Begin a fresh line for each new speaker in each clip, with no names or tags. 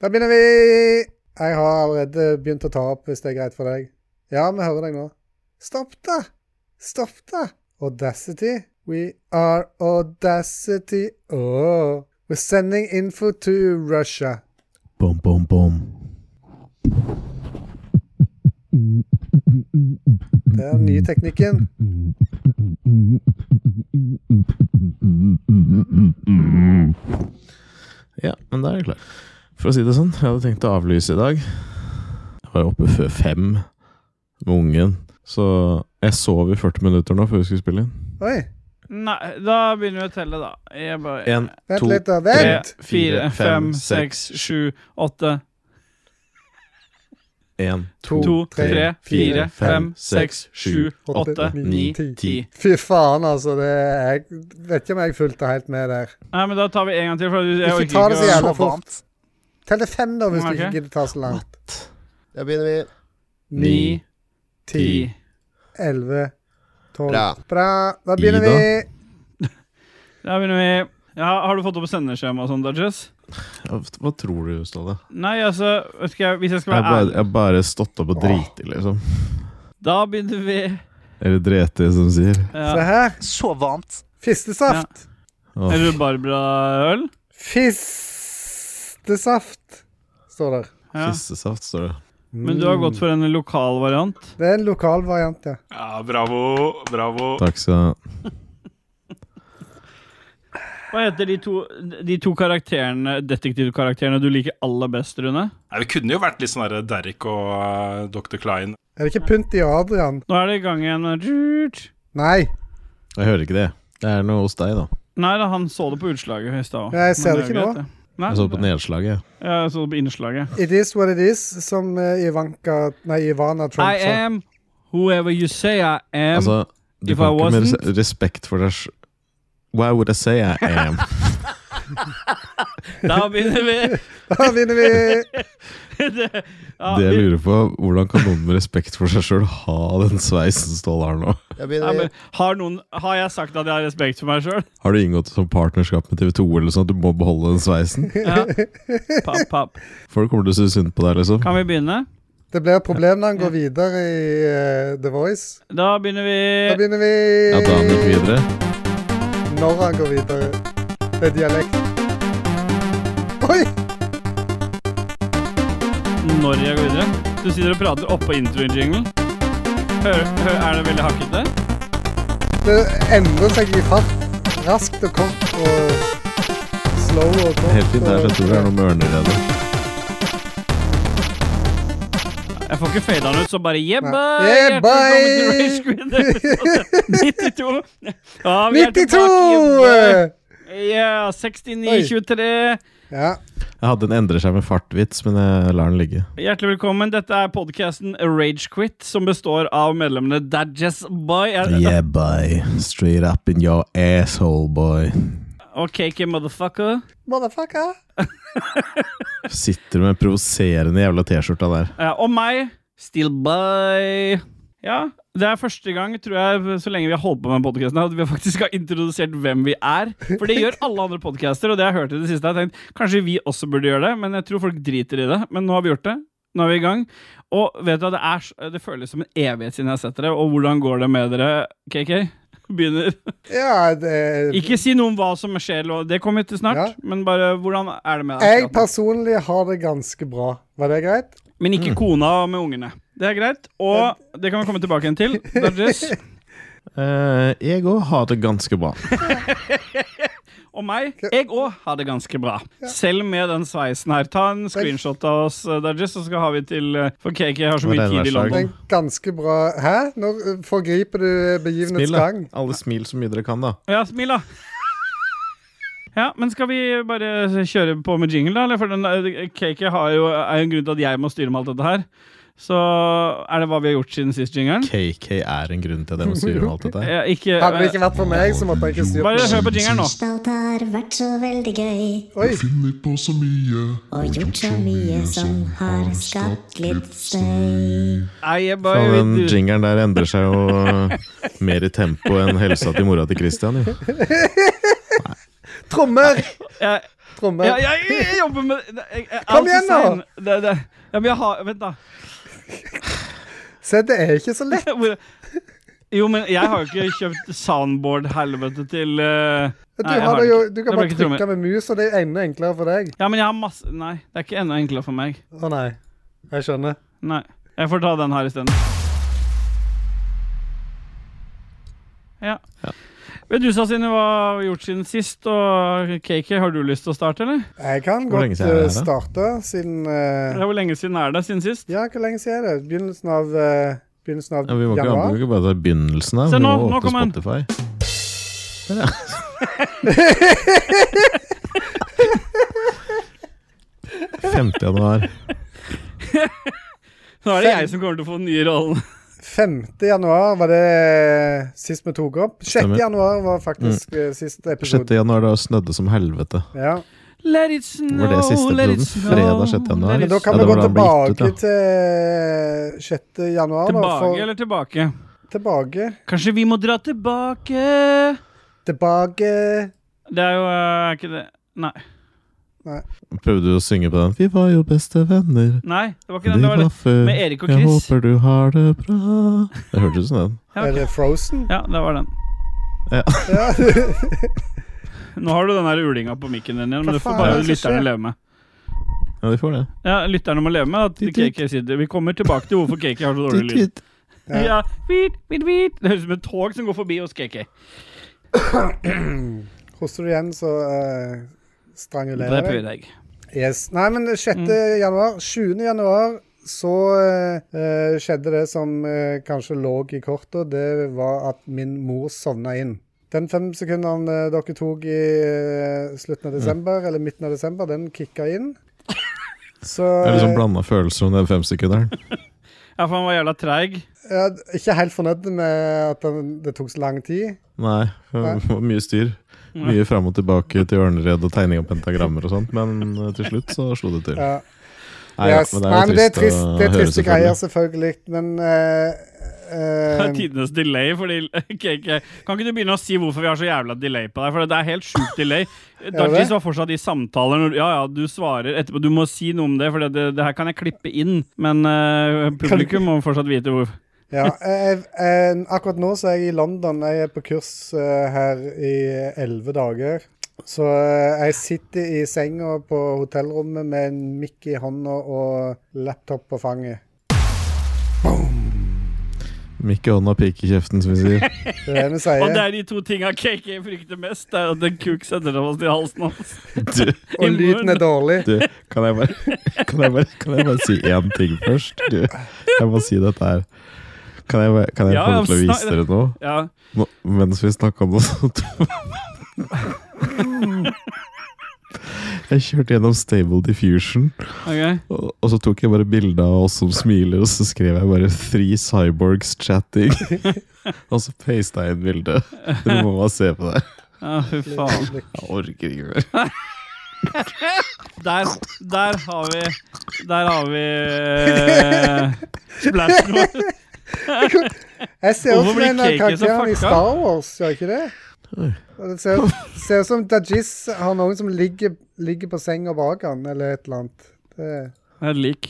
Da begynner vi! Jeg har allerede begynt å ta opp, hvis det er greit for deg. Ja, vi hører deg nå. Stopp, da! Stopp, da! Audacity. We are Audacity. Oh. We're sending info to Russia.
Bom, bom, bom.
Det er den nye teknikken.
Ja, men da er jeg klar. For å si det sånn, jeg hadde tenkt å avlyse i dag. Jeg var oppe før fem med ungen, så jeg sov i 40 minutter nå før vi skulle spille inn.
Oi,
Nei, da begynner vi å telle, da. Jeg bare,
En,
vent
to,
litt, da.
tre,
Vent!
fire,
fire, fem,
fem, seks, sju, åtte,
en,
To,
to,
tre,
tre, fire, fem, seks, sju,
åtte,
åtte, ni, ti.
Fy faen, altså. Det jeg vet ikke om jeg fulgte helt med der.
Nei, men da tar vi en gang til, for jeg
Ikke
orker
ta det så
å-
jævla fort. Tell til fem, da, hvis
Ok.
du ikke gidder ta så langt.
Da begynner vi.
Ni, ti.
11, 12
Bra.
Bra. Da begynner vi.
Da begynner vi. Ja, har du fått opp sendeskjema og sånn, Dodges?
Ja, Hva tror du, Ståle?
Nei, altså, vet ikke jeg, hvis jeg
Jeg
skal
har
være
bare,
ærlig
jeg har bare stått opp og driti, liksom.
Da begynner vi.
Eller dreti, som de sier.
Se
Ja.
her.
Så varmt.
Fistesaft.
Åh.
Er du Barbara-øl?
Fistesaft, står der.
Ja.
Fissesaft, står det.
Men du har gått for en lokal variant?
Mm. Det er en lokal variant, ja.
Ja, bravo, bravo.
Takk skal
Hva heter de to, de to karakterene, detektivkarakterene du liker aller best, Rune?
Nei, det kunne jo vært litt sånn der Derek og eh, Dr. Klein.
Er det ikke Pynti og Adrian?
Nå er det i gang igjen. Tjut.
Nei,
Jeg hører ikke det. Det er noe hos deg, da.
Nei, da, han så det på utslaget i stad.
Ja, jeg ser det
Men er jo
ikke nå.
greit, det. Nei,
Jeg så på nedslaget.
ja, jeg så det på innslaget.
It is what it is, som eh, Ivanka Nei, Ivana Trump
I
sa.
am whoever you say I am.
Altså, du
If
kan
I
ikke med
wasn't-
res- respekt for deg sj- Why would I say I am?
Da begynner vi.
Da begynner vi.
det, ja,
Det jeg
vi-
lurer på, hvordan kan noen med respekt for seg sjøl ha den sveisen Ståle har nå?
Da
ja,
begynner vi.
men, har, noen, har jeg sagt at jeg har respekt for meg sjøl?
Har du inngått et sånt partnerskap med TV2 eller sånn at du må beholde den sveisen?
Ja. Papp, papp.
Folk kommer til å synes synd på deg, liksom.
Kan vi begynne?
Det blir et problem når han går videre i eh, The Voice.
Da begynner vi.
Da begynner vi.
Ja, da gikk videre.
Når han går videre. Det er dialekt. Oi!
når jeg går videre. Du sitter og prater oppå introjinglen. Hør, hør, er det veldig hakkete?
Det endrer seg i fart. Raskt og kort og slow og kort.
Helt fint. Jeg tror det er noe med ørneredet.
Jeg får ikke fada den ut, så bare yeah,
Nei.
bye!
Yeah,
Hjertelig velkommen til
bye!
Rage Quit episode 92! Ja, vi er
92!
tilbake, yeah, bye! Ja, 69-23.
Ja.
Jeg hadde en endre seg med fartvits, men jeg lar den ligge.
Hjertelig velkommen. Dette er podkasten Ragequit, som består av medlemmene Dadges Boy er-
Yeah, boy. Straight up in your asshole, boy.
og Cakey Motherfucker.
Motherfucker.
Sitter med en provoserende jævla T-skjorta der.
Ja, og meg, Still By. Ja, det er første gang, tror jeg, så lenge vi har holdt på med podkasten, at vi faktisk har introdusert hvem vi er. For det gjør alle andre podcaster og det har jeg hørt i det siste. Jeg har tenkt, Kanskje vi også burde gjøre det, men jeg tror folk driter i det. Men nå har vi gjort det. Nå er vi i gang. Og vet du hva, det, er, s- det føles som en evighet siden jeg har sett dere. Og hvordan går det med dere, KK? Begynner.
Ja, det
Ikke si noe om hva som skjer, eller hva- det kommer til snart.
Ja.
Men bare hvordan er det med deg?
Jeg
akkurat nå?
personlig har det ganske bra. Var det greit?
Men ikke kona med ungene. Det er greit. Og det kan vi komme tilbake igjen til. Dodges.
Eh, jeg òg har det ganske bra.
Og meg. Jeg òg har det ganske bra. Selv med den sveisen her. Ta en screenshot av oss, eh, Dodges, så skal har vi til eh, For KK har så
Hva er
mye
det verste?
tid i
Det
London.
er ganske bra Hæ? Nå eh, forgriper du begivenhets
Smil, da.
gang.
Alle smil så mye dere kan, da.
Ja, smil, da. Ja, men skal vi bare kjøre på med jingle, da? Eller for den, eh, KK har jo, er jo en grunn til at jeg må styre med alt dette her. Så er det hva vi har gjort siden sist jingelen?
KK er en grunn til at jeg må styre med alt dette. her.
Ja, ikke, eh,
Hadde det ikke vært for meg, så måtte jeg ikke styrt.
bare hør på jingelen nå.
Alt har vært så veldig gøy
Oi,
funnet på så mye
og gjort så mye som har skapt litt støy.
Eie, boy,
Faen,
vi
den
du-
jingeren der endrer seg jo eh, mer i tempo enn helsa til mora til Christian. Jo.
trommer!
Jeg,
Tromme.
Ja, jeg, jeg, jeg jobber med jeg, jeg,
Kom
alt
igjen
design-
nå!
Det, det, ja, men jeg har Vent, da.
Se, det er ikke så lett.
Hvor- Jo, men jeg har jo ikke kjøpt soundboard-helvete til eh,
Du,
Nei, jeg
har
har
det jo,
ikke.
du
Det
kan
ble
bare
ikke trommer.
trykke med mus, og det er enda enklere for deg.
Ja, men jeg har masse Nei, det er ikke enda enklere for meg.
Å nei. Jeg skjønner.
Nei. Jeg får ta den her isteden. Ja. Vet du, Sassine, hva har vi gjort siden sist? Og KK, har du lyst til å starte, eller?
Jeg kan
Hvor lenge
godt
siden er det
eh,
her, da?
starte siden eh,
Ja, Hvor lenge siden er det siden sist?
Ja, hvor lenge siden er det? Begynnelsen av, eh, begynnelsen av
Ja, vi må ikke, vi må
januar?
ikke bare ta begynnelsen her.
Se
vi
nå,
må
nå
åpne
kom han.
Spotify. Der, ja. 5. januar.
Nå er det jeg som kommer til å få den nye rollen.
5. januar var det eh, sist vi tok opp. 6.
Stemmer. Mm.
januar var faktisk eh, siste
6.
episode.
januar, da snødde som helvete.
Ja.
Let it snow,
Var det siste
let it
episoden?
snow,
Fredag 6. januar.
let it
Men da kan
Ja,
vi
det
gå
var da den ble
tilbake
gitt ut, ja.
til 6. januar. da,
Tilbake
for-
eller tilbake?
tilbake.
Kanskje vi må dra tilbake
Tilbake
Det er jo eh, ikke det Nei.
Prøvde du å synge på den? Vi var jo beste venner.
Nei, det var ikke
De
den. Det var
var
det.
før.
Med Erik og
Jeg
Chris.
håper du har det bra. Det hørtes ut som den.
Ja,
Er
ok.
det Frozen?
ja, det var den.
Ja.
Nå har du den der ulinga på mikken din igjen,
Hva
men det får
faen
bare
er det som
lytterne
skjer?
leve med.
Ja, de får det.
Ja, lytterne må leve med at
Titt, titt.
KK sitter Vi kommer tilbake til hvorfor KK har så dårlig
Titt,
lyd.
titt.
Ja.
Ja, hvit, hvit, hvit. Det høres ut som et tog som går forbi hos KK.
Hoster du igjen, så eh, strangulerer
Dreper
jeg.
vi deg.
Yes. Nei, men 6. januar, 20. januar, så eh, eh, skjedde det som eh, kanskje lå i kortet. Det var at min mor sovna inn. Den fem sekundene eh, dere tok i eh, slutten av desember, eller midten av desember, den kicka inn. Så
Det er liksom
eh,
blanda følelser om den femsekunderen.
Ja, for han var jævla treig.
jeg er ikke helt fornøyd med at den, det tok så lang tid.
Nei,
Nei.
det var mye styr. Mye fram og tilbake til ørnered og tegning av pentagrammer og sånt, men eh, til slutt så slo det til.
Ja.
Nei, ja,
Yes. Nei, men det er trist,
å
det er
høre,
triste greier, selvfølgelig, men eh,
Det
eh,
er tidenes delay fordi KK Kan ikke du begynne å si hvorfor vi har så jævla delay på deg? For det er helt sjukt delay. Dajis var fortsatt i samtaler når Ja, ja, du svarer etterpå. Du må si noe om det, for det, det, det her kan jeg klippe inn. Men eh, publikum må fortsatt vite hvor.
Ja, jeg, jeg, akkurat nå så er jeg i London. Jeg er på kurs eh, her i elleve dager. Så eh, jeg sitter i senga på hotellrommet med en mic i hånda og laptop på fanget.
Mikk i hånda, pike i kjeften, som vi sier.
Det er det vi
Og det
sier.
er de to tinga KK frykter mest. Det er at en kuk setter seg fast i halsen hans.
Du,
Og lyden er dårlig.
du kan, jeg bare, kan, jeg bare, kan jeg bare si én ting først? Du, jeg må si dette her. Kan jeg, bare- kan jeg
Ja,
få
ja,
lov til å
snak-
vise dere noe?
Ja.
Nå, mens vi snakka om det sånt Jeg kjørte gjennom Stable Diffusion,
ok
og, og så tok jeg bare bilde av oss som smiler, og så skrev jeg bare 'Three cyborgs chatting'. og så pasta jeg inn bildet. Dere må bare se på det.
Ja, fy faen.
Jeg orker ikke mer.
Der, der har vi Der har vi eh, splashen vår.
Jeg ser ut
Hvorfor
som
blir
en av
cake så
karakterene i
fucka?
Star Wars, gjør jeg ikke det?
Oi.
Og Det ser, ser ut som Dajis har noen som ligger, ligger på senga bak han, eller et eller annet. Det
Det er et lik.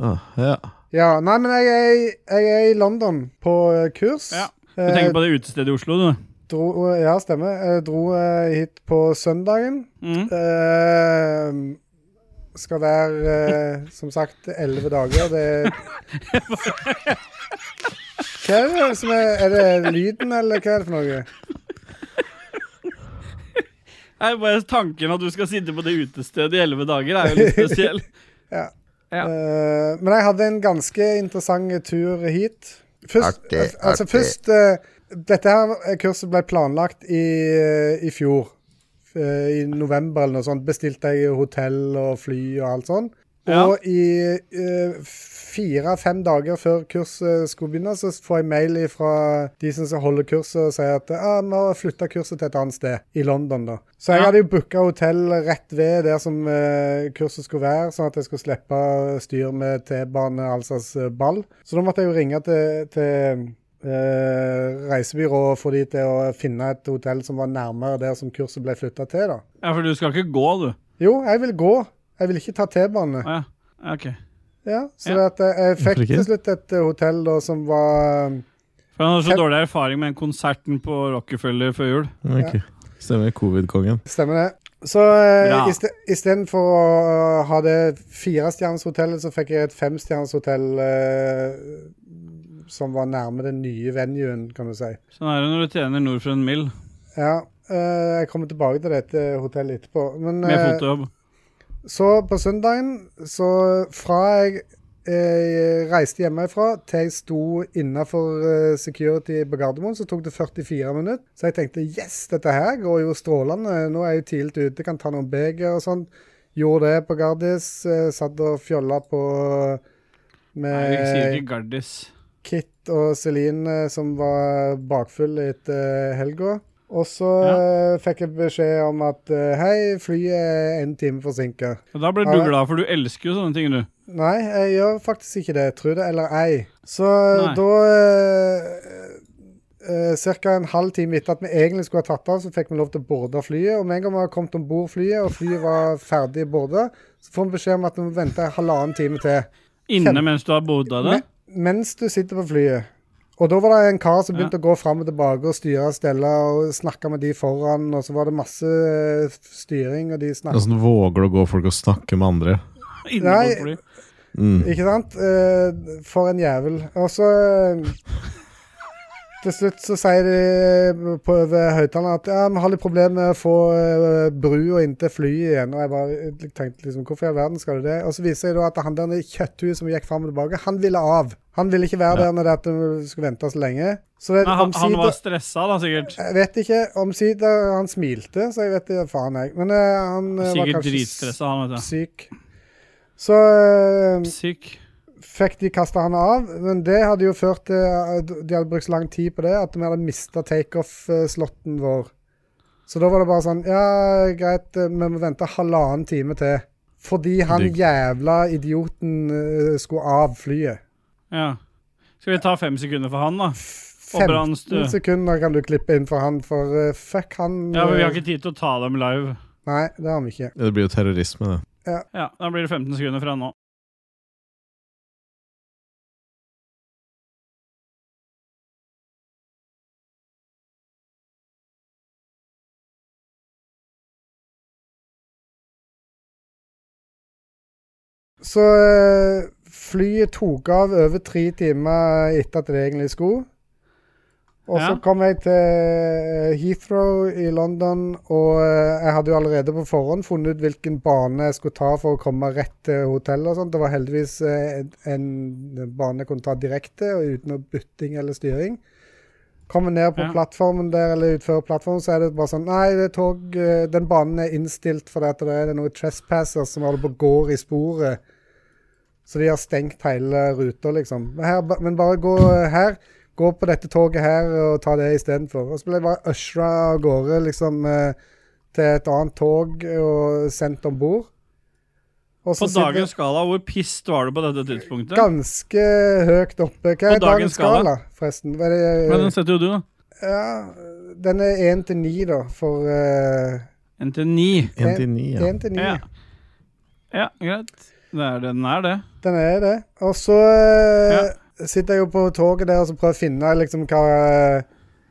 Ah, ja.
Ja, nei, men jeg er, i- jeg er i London på eh, kurs.
Ja, Du tenker på det utestedet i Oslo, du.
dro, eh, ja, stemmer. Jeg dro eh, hit på søndagen.
Mm.
Eh, skal være, eh, som sagt, elleve dager. Det er Hva er det som er Er det lyden, eller hva er det for noe?
Nei, bare Tanken at du skal sitte på det utestedet i elleve dager, er jo litt spesiell.
Ja.
Ja.
Eh, men jeg hadde en ganske interessant tur hit. Først, al- altså først eh, Dette her eh, kurset ble planlagt i, eh, i fjor. Eh, I november eller noe sånt. Bestilte jeg hotell og fly og alt sånt.
Ja.
Og i eh, fire-fem dager før kurset skulle begynne, så får jeg mail fra de som skal holde kurset, og sier at ah, vi har flytta kurset til et annet sted, i London, da. Så jeg
Ja.
hadde jo booka hotell rett ved der som eh, kurset skulle være, sånn at jeg skulle eh, slippe styr med T-bane, altså ball. Så da måtte jeg jo ringe til, til eh, reisebyrå og få de til å finne et hotell som var nærmere der som kurset ble flytta til, da.
Ja, for du skal ikke gå, du.
Jo, jeg vil gå. Jeg vil ikke ta T-bane.
Å, ja. Ok.
Ja, så
Ja.
At jeg jeg fikk
Hvorfor ikke?
til slutt et eh, hotell da, som var eh,
For han har så
Kan-
dårlig erfaring med den konserten på Rockefeller før jul.
Ok. Stemmer. Covid-kongen.
Stemmer det. Så uh,
Bra.
istedenfor å eh, ha det firestjerners hotellet, så fikk jeg et femstjerners hotell eh, som var nærme den nye venuen, kan du si.
Sånn er det når du tjener nord for en mill
Ja, eh, jeg kommer tilbake til dette hotellet etterpå. Men
med
eh,
fotojobb.
så på søndagen, så fra jeg eh, reiste hjemmefra til jeg sto innafor eh, security på Gardermoen, så tok det 44 minutter. Så jeg tenkte yes, dette her går jo strålende. Nå er jeg jo tidlig ute, kan ta noen beger og sånn. Gjorde det på Gardis. Eh, satt og fjolla på
Nei, vi sier
med
ikke Gardis.
Kit og Celine eh, som var bakfull etter helga. Og så eh, fikk jeg beskjed om at eh, hei, flyet er en time forsinka.
Og da ble
Ja,
du
det-
glad, for du elsker jo sånne ting, du.
Nei, jeg gjør faktisk ikke det. Tror det eller ei. Så
Nei.
da eh, eh, Ca. en halv time etter at vi egentlig skulle ha tatt av, så fikk vi lov til å borde flyet. Og med en gang vi har kommet om bord flyet, og flyet var ferdig borda, så får vi beskjed om at vi må vente halvannen time til.
Inne mens du har bodd av det.
Men- Mens du sitter på flyet. Og da var det en kar som
Ja.
begynte å gå fram og tilbake og styre og stelle og snakke med de foran, og så var det masse eh, styring, og de snakket
Altså, våger du å gå folk og snakke med andre?
Inne på
Nei.
et fly.
Mm.
Ikke sant? Eh, for en jævel. Og så eh, Til slutt så sier de på ved høyttaleren at ja, vi har litt problemer med å få eh, brua inntil flyet igjen. Og jeg bare jeg tenkte liksom Hvorfor i all verden skal du det? Og så viser jeg da at han der i kjøtthuet som gikk fram og tilbake, han ville av. Han ville ikke være der når det at du skulle vente så lenge. Så det,
Nei, han, han
omsider-
var stressa, da, sikkert.
jeg vet ikke. Omsider Han smilte, så jeg vet ikke faen, jeg. Men eh, han eh, var
Sikkert
kanskje s-
dritstressa, han, vet du.
syk. Så eh,
Syk.
fikk de kasta han av, men det hadde jo ført til at De hadde brukt så lang tid på det at vi hadde mista takeoff-slåtten vår. Så da var det bare sånn Ja, greit, eh, vi må vente halvannen time til. Fordi han
Digg.
jævla idioten eh, skulle av flyet.
Ja. Skal vi ta fem sekunder for han, da?
Mm.
Og Brands, du.
15 sekunder kan du klippe inn for han, for eh, fuck han
Ja, men Vi har
eh,
ikke tid til å ta dem live.
Nei, det har vi ikke.
Det blir jo terrorisme, det.
Ja, Da blir det 15 sekunder fra nå.
Så eh, flyet tok av over tre timer etter at det egentlig skulle. Og så
Ja.
kom jeg til eh, Heathrow i London, og eh, jeg hadde jo allerede på forhånd funnet ut hvilken bane jeg skulle ta for å komme rett til hotellet og sånt. Det var heldigvis eh, en, en bane jeg kunne ta direkte, og uten noe bytting eller styring. Kommer ned på
Ja.
plattformen der, eller utfører plattformen, så er det bare sånn Nei, det er tog, eh, den banen er innstilt fordi at det er noen trespassers som holder på å gå i sporet. Så de har stengt hele ruta, liksom. Men, her, ba- men bare gå eh, her. Gå på dette toget her og ta det istedenfor. Og så ble jeg bare usra av gårde liksom, eh, til et annet tog og sendt om bord. Og
På
så sitter-
dagens skala, hvor pissed var du på dette tidspunktet?
Ganske høyt oppe. Hva
På
er dagens
dagens skala?
skala, forresten? Hva er det,
Men den setter jo du, da.
ja, den er én til ni, da, for én
En til ni.
Én til ni, ja.
til ni.
Ja. ja, greit. Det er det den er, det.
Den er det. Og så eh, sitter jeg jo på toget der og så prøver jeg å finne liksom hva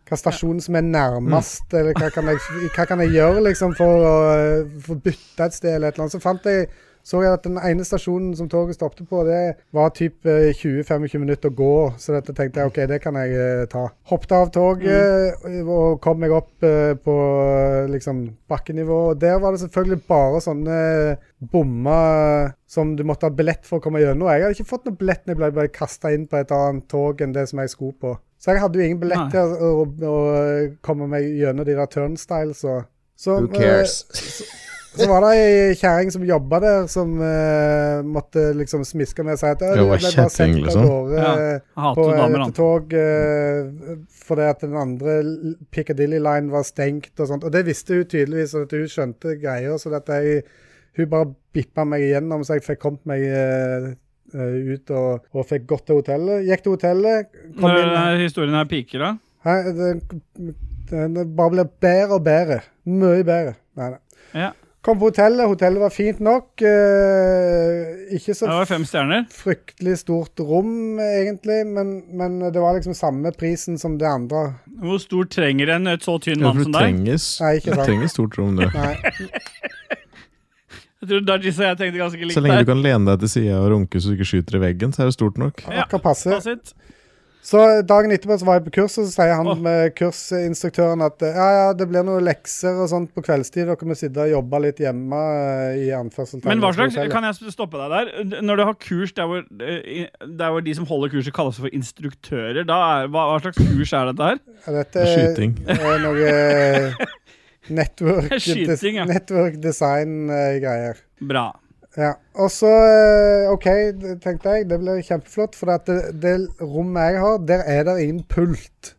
hva stasjonen som er nærmest, eller hva kan, jeg, hva kan jeg gjøre liksom for å eh, få bytte et sted, eller et eller annet. Så fant jeg, så jeg at den ene stasjonen som toget stoppte på, det var typ eh, 20-25 minutter å gå, så dette tenkte jeg ok, det kan jeg eh, ta. Hoppet av toget eh, og kom meg opp eh, på eh, liksom bakkenivå, og der var det selvfølgelig bare sånne eh, bommer eh, som du måtte ha billett for å komme gjennom. Jeg hadde ikke fått noe billett når jeg ble bare kastet inn på et annet tog enn det som jeg skulle på. Så jeg hadde jo ingen billett
Nei.
til å, å, å eh, komme meg gjennom de der turnstiles og så,
Who cares?
eh, så var det ei kjerring som jobba der, som eh, måtte liksom smiske med og si at «Ja,
Det
du,
var
jeg ble bare sendt
kjetting,
av
liksom.
gårde
Ja,
eh,
Jeg hater
på
jo damer,
et
han.
tog eh, fordi at den andre l- Piccadilly Line var stengt og sånt. Og det visste hun tydeligvis, og at hun skjønte greier, så at jeg, hun bare bippa meg igjennom så jeg fikk kommet meg eh, eh, ut og, og fikk gått til hotellet. Gikk til hotellet, kom
Når
inn
denne historien her piker, da?
Hæ, det, den bare ble bedre og bedre. Mye bedre. Nei, nei.
Ja.
Kom på hotellet, hotellet var fint nok. eh, ikke så
Det var fem stjerner.
fryktelig stort rom, egentlig, men, men det var liksom samme prisen som det andre.
Hvor stor trenger en et så tynn
Ja,
mann
for
som
du
deg?
trenger, s-
Nei, ikke
du
sant.
trenger stort rom, du.
Nei.
Jeg tror Dargis og jeg tenkte ganske likt
Så lenge
der.
du kan lene deg til sida og runke så du ikke skyter i veggen, så er det stort nok.
Ja. Altså-
Akkurat passe.
Fasit.
Så dagen etterpå så var jeg på kurs, og så sier han
Åh.
med kursinstruktøren at eh, ja, ja, det blir noen lekser og sånt på kveldstid. Dere må sitte og jobbe litt hjemme. eh, i anførselstegn.
Men hva slags,
Hotellet.
kan jeg stoppe deg der? Når du har kurs der hvor, eh, der hvor de som holder kurset, kalles for instruktører, da er, hva, hva slags kurs er dette her?
Ja, Dette er-
Skyting.
er eh, noe network,
Skyting, ja.
network eh, design-greier.
Bra.
Ja. Og så, eh, OK, det tenkte jeg, det blir kjempeflott. For at det, det rommet jeg har, der er det ingen pult.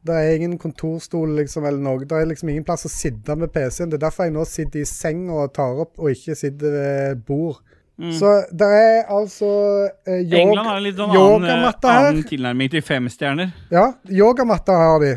Det er ingen kontorstol liksom, eller noe. Det er liksom ingen plass å sitte med PC-en. Det er derfor jeg nå sitter i senga og tar opp, og ikke sitter ved bord. Så det er altså eh, yog-
Mm. England har en litt sånn annen,
yogamatte
eh,
her.
annen tilnærming til femstjerner.
Ja, yogamatta har de.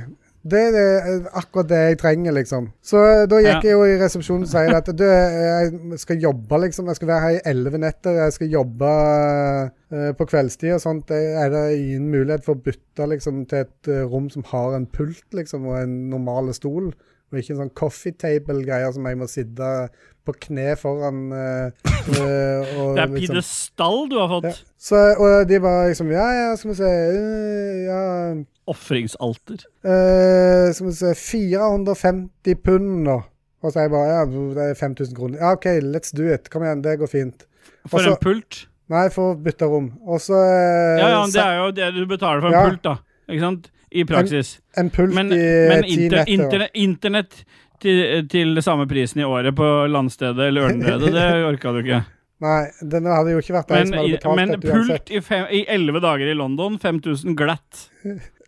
Det er det- akkurat det jeg trenger, liksom. Så da gikk
Ja.
jeg jo i resepsjonen og sier at du, eh, jeg skal jobbe, liksom. Jeg skal være her i elleve netter. Jeg skal jobbe eh, på kveldstid og sånt. Det- Er det ingen mulighet for å bytte liksom, til et eh, rom som har en pult, liksom, og en normal stol? Og ikke en sånn coffee table-greie som jeg må sitte på kne foran. eh, eh, og,
Det er
liksom-
pidestall du har fått.
ja. Så, og de var liksom Ja, ja, skal vi se eh, Ja
Ofringsalter.
Eh, skal vi se 450 pund nå. Og så er jeg bare Ja, det er 5000 kroner. Ja, OK, let's do it. Kom igjen, det går fint.
For
Også-
en pult.
Nei, for å bytte rom. Og så Altså, eh,
Ja, ja, det
sa-
er jo det du betaler for en
Ja.
pult, da. Ikke sant? I praksis.
en pult
Men,
i
men
ti netter.
inter, interne, internett til, til samme prisen i året på landstedet eller Ørnredet, det orka du ikke.
Nei, den hadde jo ikke vært jeg
Men,
som hadde
i-
betalt
men
dette uansett.
pult i fem- i elleve dager i London, 5000 glatt.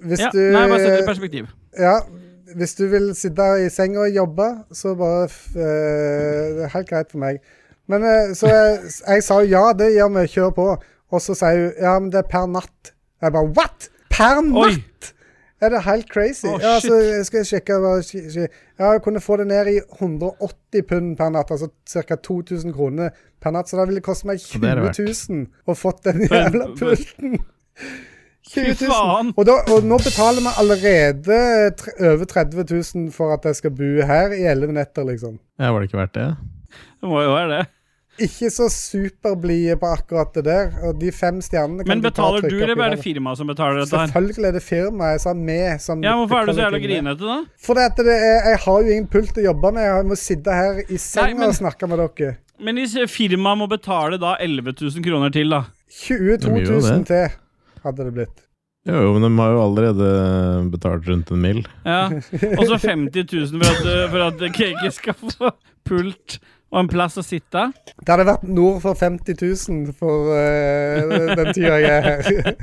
Hvis
Ja,
du
nei, bare sett det i perspektiv.
Ja, hvis du vil sitte i senga og jobbe, så bare f- eh, Det er helt greit for meg. Men eh, så jeg, jeg sa jo ja, det gjør vi, kjør på. Og så sier hun ja, men det er per natt. Jeg bare what?! Per
Oi.
natt?! Er det helt crazy?
Å,
ja,
shit.
så jeg skal sjekke hva sk- sk- Ja, jeg kunne få det ned i 180 pund per natt, altså ca. 2000 kroner per natt. Så det ville koste meg
det er
20
det verdt.
000 å fått den jævla
Men-
pulten. 20
Fy
000.
faen.
Og, da, og nå betaler vi allerede tre, over 30 000 for at jeg skal bo her i 11 netter, liksom.
Ja, Var det ikke verdt det?
Det må jo være det.
Ikke så superblide på akkurat det der. Og de fem stjernene kan
Men betaler
bare
du,
trykke
eller
opp i
er det
den.
firmaet som betaler dette her?
Selvfølgelig er det firmaet jeg sa med som
Ja, Hvorfor er du så
betaler
jævla
kundene.
grinete, da?
Fordi at det er, jeg har jo ingen pult å jobbe med. Jeg må sitte her i senga
men-
og snakke med dere.
Men hvis firmaet må betale da 11 000 kroner til, da?
22
De gjør jo
000
det.
til hadde det blitt.
Jo, jo, men de har jo allerede betalt rundt en mill.
Ja. Og så 50 000 for at, for at KK skal få pult og en plass å sitte.
Det hadde vært nord for 50 000 for eh, den tida jeg er her.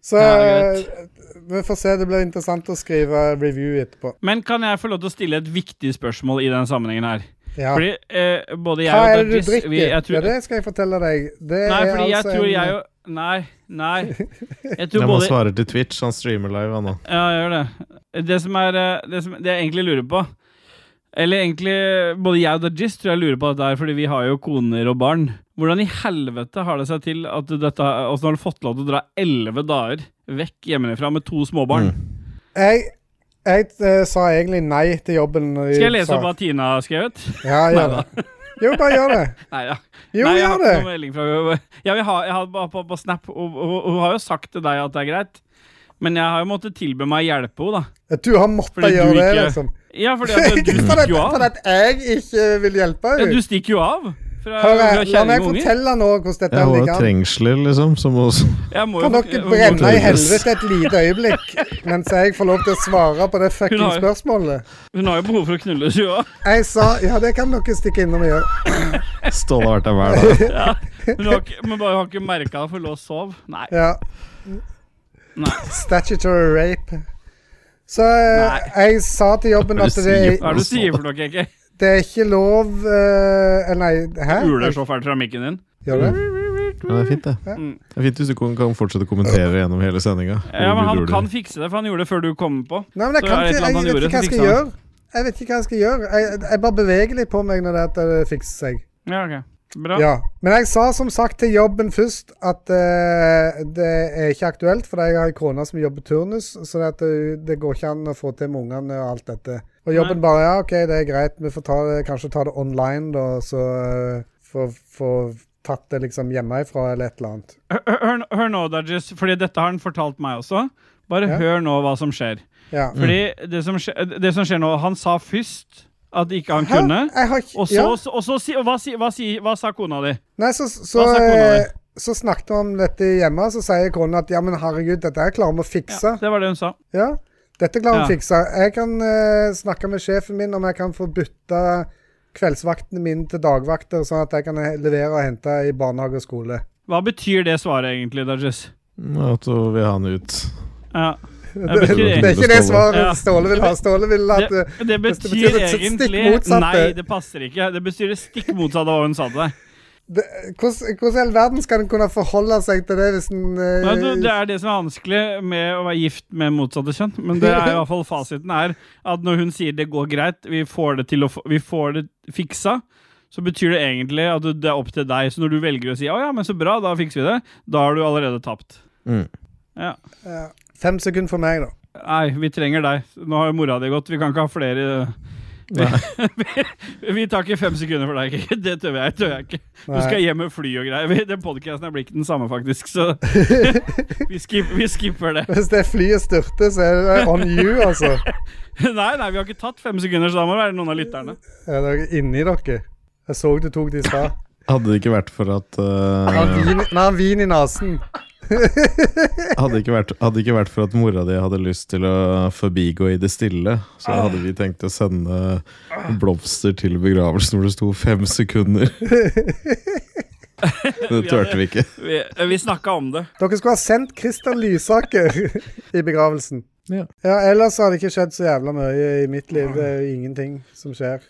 Så
Ja, det
eh, vi får se. Det blir interessant å skrive review etterpå.
Men kan jeg få lov til å stille et viktig spørsmål i den sammenhengen her?
Ja.
Fordi eh, både jeg
Hva
og
er det du
Dodges,
drikker?
vi- jeg tror,
Ja, det skal jeg fortelle deg. Det
Nei,
er
fordi jeg
altså
tror
en-
jeg jo Nei, nei. Jeg tror
Ja, man
både
svarer til Twitch, han streamer live, han nå.
Ja, jeg gjør det. Det som er eh, Det, som, det jeg egentlig lurer på Eller egentlig Både jeg og Dajis tror jeg lurer på dette her, fordi vi har jo koner og barn. Hvordan i helvete har det seg til at dette Åssen har du fått lov til å dra elleve dager vekk hjemmefra med to småbarn?
Mm.
Mm.
Jeg, jeg eh, sa egentlig nei til jobben. når de
Skal jeg lese
sa-
opp hva Tina har skrevet?
Ja, gjør det. Jo, bare gjør det.
Nei, ja.
Jo,
Nei, jeg
gjør
har
det.
ikke noe melding fra henne. Jeg, vil ha, jeg har bare på, på Snap, og, og, og hun har jo sagt til deg at det er greit, men jeg har jo måttet tilby meg å hjelpe henne, da.
At Du har måttet
Fordi du
gjøre det,
ikke-
liksom.
Ja, fordi at du
Ikke for at,
stikker jo av.
for at jeg ikke vil hjelpe
Ja, du
henne.
stikker jo av fra,
Hør,
fra
her, la meg
kjerring og unger.
fortelle nå hvordan dette
Jeg har jo
ligger an.
trengsler, liksom, som hos
Jeg må jo-
Kan
jeg
dere
må-
brenne i
til-
helvete et lite øyeblikk mens jeg får lov til å svare på det
Hun
fucking
har-
spørsmålet?
Hun har jo behov for å knulle seg òg.
Jeg sa Ja, det kan dere stikke innom og gjøre.
Ståle har vært der hver dag.
Hun har ikke, men bare har ikke merka det, for lå og sov. Nei.
Ja.
Nei.
Statutory rape. Så eh, jeg sa til jobben
Hva er
at
det
det,
du sier?
Hva er det du sier for noe, Keke?
det er ikke lov eh, Nei, hæ?
Uler så fælt fra mikken din.
Gjør du det?
Ja, det er fint, det.
Mm.
Det er fint hvis du kan kan fortsette å kommentere gjennom hele sendinga.
Ja, men Han kan fikse det, for han gjorde det før du kom på.
Nei, men jeg,
Så
kan
er det
ikke,
et eller
jeg
annet
vet
han
ikke hva jeg skal
gjorde,
gjøre. Jeg vet ikke hva jeg skal gjøre. Jeg, jeg bare beveger litt på meg når det, at det fikser seg.
Ja, ok Bra.
Ja. Men jeg sa som sagt til jobben først at eh, det er ikke aktuelt, for jeg har en kone som jobber turnus, så det, at det, det går ikke an å få til med ungene og alt dette. Og jobben bare ja, OK, det er greit, vi får ta det, kanskje ta det online, da, så eh, få få tatt det liksom hjemmefra eller et eller annet.
Hør, hør, hør nå, Dajis, fordi dette har han fortalt meg også. Bare
Ja. Mm.
hør nå hva som skjer.
Ja.
Fordi det som skjer, det som skjer nå Han sa først at ikke han
Hæ?
kunne.
Jeg har ikke
Og så,
ja.
og så, si, og hva, si, hva, si, hva sa kona di?
Nei, så, så,
Hva sa kona
eh, så snakket vi om dette hjemme, så sier kona at ja, men herregud, dette her klarer vi å fikse.
Det var det hun sa.
Ja, dette klarer vi å
Ja.
fikse. Jeg kan eh, snakke med sjefen min om jeg kan få bytte kveldsvaktene mine til dagvakter, sånn at jeg kan he- levere og hente i barnehage og skole.
Hva betyr det svaret egentlig, Dajis?
At hun Mm, vil ha han ut.
Ja.
Det,
betyr
det er
egentlig-
ikke det svaret
Ja.
Ståle vil ha. Ståle vil at
Det,
eh,
det
det
betyr
betyr det stikk eh.
egentlig
motsatte.
Nei, det passer ikke. Det betyr det stikk motsatte av hva hun sa til deg.
det, Hvordan hvordan i all verden skal en kunne forholde seg til det hvis en eh,
Nei, du, det er det som er vanskelig med å være gift med motsatte kjønn. Men det er i hvert fall fasiten er at når hun sier 'det går greit, vi får det, til å, få- vi får det fiksa', så betyr det egentlig at du- det er opp til deg. Så når du velger å si 'å ja, men så bra, da fikser vi det', da har du allerede tapt.
Mm.
Ja.
ja, Fem sekunder for meg, da.
Nei, vi trenger deg. Nå har jo mora di gått. Vi kan ikke ha flere vi, vi, vi tar ikke fem sekunder for deg. Kikki. Det tør jeg, tør jeg ikke. Du
Nei.
skal hjem med fly og greier. Vi- Den podkasten blir ikke den samme, faktisk, så vi, skip, vi skipper det.
Hvis det flyet styrter, så er det on you, altså.
Nei, nei, vi har ikke tatt fem sekunder, så da må det være noen av lytterne.
Er dere inni dere? Jeg så du tok det i stad.
Hadde det ikke vært for at
Han har
eh,
vin, han har vin i nesen.
Hadde det ikke vært, hadde det ikke vært for at mora di hadde lyst til å forbigå i det stille, så hadde vi tenkt å sende blomster til begravelsen hvor det sto fem sekunder. Det turte vi ikke.
Vi, eh, vi snakka om det.
Dere skulle ha sendt Christian Lysaker i begravelsen.
Ja.
ellers har det ikke skjedd så jævla mye i mitt liv. Det er jo ingenting som skjer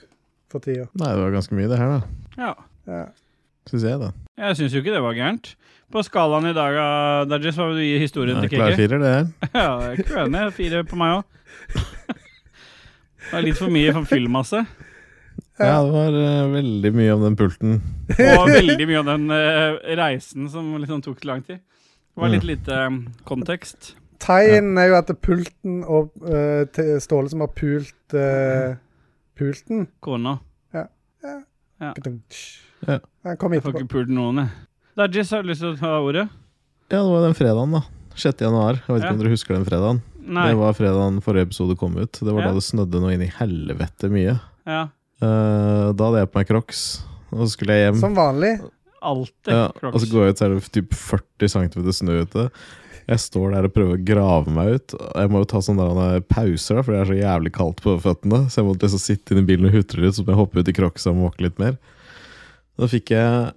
for tida.
Nei, det var ganske mye, det her, da.
Ja.
Ja.
Syns jeg, da.
Jeg syns jo ikke det var gærent. På skalaen i dag, av Dajis, hva vil du gi historien
Det
til
er klar
Kikki?
firer, det her.
Ja, jeg er ikke uenig. Fire på meg òg. Det er litt for mye for fyllmasse.
Ja, det var eh, veldig mye om den pulten.
Og veldig mye av den eh, reisen som liksom tok lang tid. Det var litt
Mm.
lite eh, kontekst.
Tegnen er jo at pulten og eh, te- Ståle som har pult eh, pulten
Kona.
Ja.
Han kom
Jeg får
etterpå.
ikke pult noen, jeg. Dajis, har du lyst til å ta ordet?
Ja, det var den fredagen, da. 6. januar. Jeg vet ikke
Ja.
om dere husker den fredagen.
Nei.
Det var fredagen forrige episode kom ut. Det var
Ja.
da det snødde noe inn i helvete mye.
Ja.
Eh, da hadde jeg på meg crocs, og så skulle jeg hjem.
Som vanlig.
Alltid
Ja, og
crocs.
så går jeg ut, så er det typ 40 cm snø ute. Jeg står der og prøver å grave meg ut. Og Jeg må jo ta sånne der eh, pauser, da, for det er så jævlig kaldt på føttene. Så jeg måtte liksom sitte inn i bilen og hutre litt, så må jeg hoppe ut i crocsa og måke litt mer. Da fikk jeg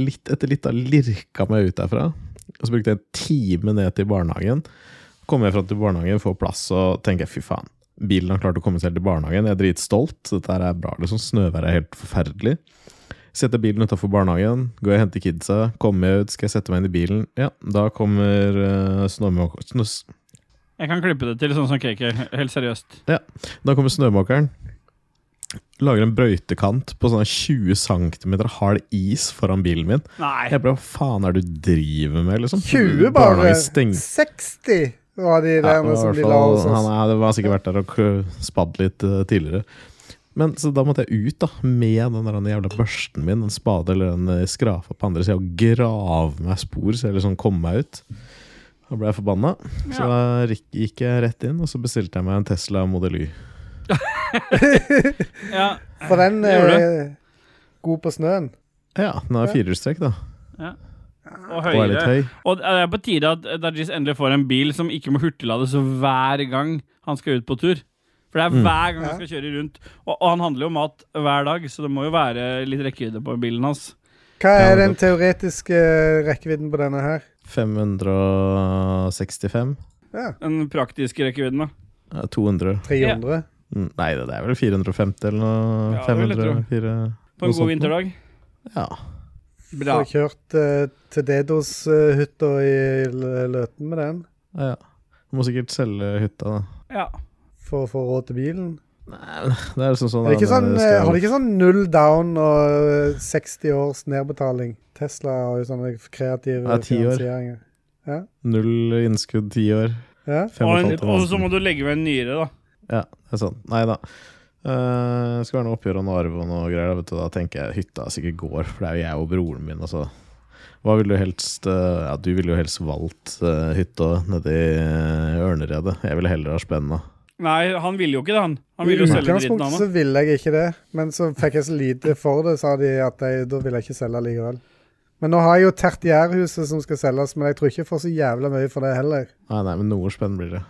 litt etter litt da lirka meg ut derfra. Og så brukte jeg en time ned til barnehagen. Kommer jeg fram til barnehagen, får plass, og tenker jeg, fy faen. Bilen har klart å komme seg til barnehagen. Jeg er dritstolt. Dette her er bra. liksom Snøværet er helt forferdelig. Setter bilen utafor barnehagen, går jeg og henter kidsa, kommer jeg ut, skal jeg sette meg inn i bilen. Ja, da kommer uh, snømåk snøs-
Jeg kan klippe det til sånn som KK. Helt seriøst.
Da kommer snømåkeren. Lager en brøytekant på sånn 20 cm hard is foran bilen min.
Nei.
Jeg bare, Hva faen er det du driver med, liksom?
20 bare.
Barnehagen stengte.
60 var de
Ja,
der
det
som
var i
de
hvert
la
fall-
hos
Han
oss.
er- det var sikkert vært der og klø- spadd litt eh, tidligere. Men så da måtte jeg ut da med den der den jævla børsten min, en spade eller en eh, skrapa på andre sida, og grave meg spor, så jeg liksom kom meg ut. Da ble jeg forbanna. Så
Ja.
da rik- gikk jeg rett inn, og så bestilte jeg meg en Tesla Model Y.
Ja.
For den
Det gjorde
er god på snøen.
Ja, den har firehjulstrekk, da.
Og
Og er litt
høyere.
høy.
Og eh, det er på tide at Dajis endelig får en bil som ikke må hurtiglades hver gang han skal ut på tur. For det
Mm.
er hver gang han skal kjøre rundt. Og, og han handler jo om mat hver dag, så det må jo være litt rekkevidde på bilen hans.
Hva
Ja,
er
men
den teoretiske eh, rekkevidden på denne her?
565.
Ja,
Den praktiske rekkevidden, da.
eh, 200.
300?
Mm, Nei, det er vel 450 eller noe?
Ja, det vil jeg
500? 4,
På en god vinterdag.
Ja.
Bra.
Får kjørt eh, til Dedos-hytta i L- Løten med den
Ja. Du må sikkert selge hytta, da.
Ja.
for å få råd til bilen.
Nei, det er liksom sånn
Er det ikke
der-
sånn, eh,
skal-
har de ikke sånn null down og eh, 60 års nedbetaling? Tesla har jo sånne kreative
Ja, 10 år.
finansieringer.
Null innskudd, ti år.
Ja?
Fem og et
Og,
halvt år.
og så må du legge ved en nyre, da.
Ja, det er sånn. Nei da. Eh, det skal være noe oppgjør og noe arv og noe greier. da, Vet du, da tenker jeg hytta sikkert går, for det er jo jeg og broren min. Altså. Hva ville du helst eh, Ja, du ville jo helst valgt eh, hytta nedi uh, ørneredet. Jeg ville heller ha spenna.
Nei, han ville jo ikke det, han. Han
I
ville jo selge dritten
utgangspunktet
av
så
meg.
ville jeg ikke det, men så fikk jeg så lite for det, sa de at jeg, da ville jeg ikke selge likevel. Men nå har jeg jo Tertiærhuset som skal selges, men jeg tror ikke jeg får så jævla mye for det heller.
Nei, nei, men noe spenn blir det.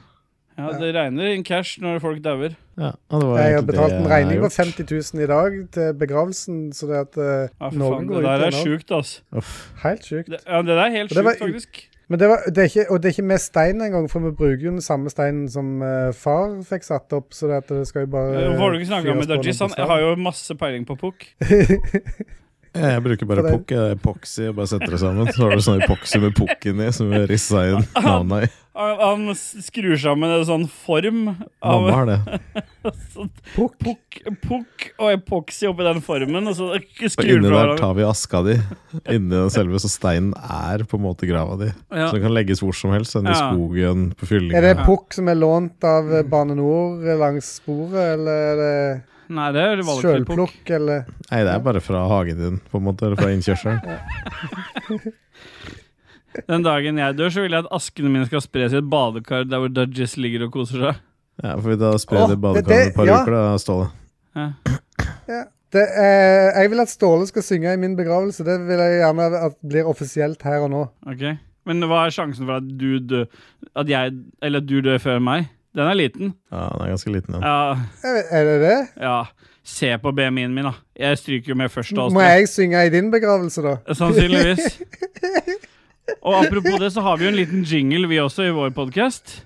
Ja, det regner inn cash når folk dauer.
Ja, og det var
Jeg har
egentlig det
betalt en
jeg
regning
har
på
gjort.
50 000 i dag til begravelsen, så det at eh,
Ja, for
Norge
faen,
går
det der
ut
er sjukt, altså.
Uff.
Helt sjukt.
Det, ja, det der er helt
Og det var
sjukt,
u-
faktisk.
Men det var, det er ikke, og det er ikke med stein engang, for vi bruker jo den samme steinen som eh, far fikk satt opp, så det at det skal jo bare
Hvorfor Eh, har du ikke snakka
fyres
med
på
Dudgies?
noen
Han sånn, har jo masse peiling på pukk.
Jeg jeg bruker bare
For det-
pokk, jeg, epoxy, og bare setter det sammen. Så har du sånn epoxy med pukken i, som vi rissa inn navnet i.
Han, han s- skrur sammen en sånn form av
Mamma har det.
sånn
Pukk.
pukk pukk og epoksy oppi den formen, og så
Og
skrur han
inni
fra
der
hverandre.
tar vi aska di. Inni den selve, så steinen er på en måte grava di.
Ja.
Så den kan legges hvor som helst. Den i
Ja.
skogen,
Er det
på fyllinga.
pukk som er lånt av eh, Bane Nor langs sporet, eller er det
Nei, det er valgfri pukk.
sjølplukk, eller
Nei, det er bare fra hagen din, på en måte. Eller fra innkjørselen.
Den dagen jeg dør, så vil jeg at askene mine skal spres i et badekar der hvor Dudgies ligger og koser seg.
Ja, for vi da sprer
Åh,
det i
det-
badekaret
det-
et par
ja.
uker, da, Ståle.
Ja. Det, eh, jeg vil at Ståle skal synge i min begravelse. Det vil jeg gjerne at blir offisielt her og nå.
Ok? Men hva er sjansen for at du dør At jeg, eller at du dør før meg? Den er liten.
Ja, den er ganske liten, den.
Ja,
Er er det det?
ja. Se på BMI-en min, da. Jeg stryker jo med først. av oss
Må
to.
jeg synge i din begravelse, da?
Sannsynligvis. Og apropos det, så har vi jo en liten jingle, vi også, i vår podkast.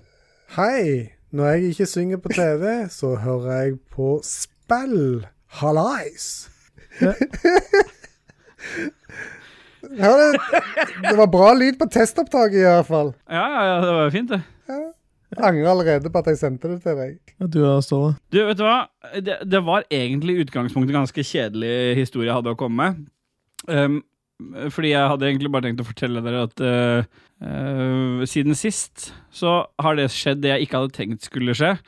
Hei! Når jeg ikke synger på TV, så hører jeg på spill. Hallais! Hør det. Det var bra lyd på testopptaket, i hvert fall.
Ja, ja, ja, det var jo fint, det.
Jeg angrer allerede på at jeg sendte det til deg.
Ja, du da, Ståle?
Du, vet du hva? Det, det var egentlig i utgangspunktet ganske kjedelig historie jeg hadde å komme med. Um, fordi jeg hadde egentlig bare tenkt å fortelle dere at eh, eh, siden sist så har det skjedd det jeg ikke hadde tenkt skulle skje.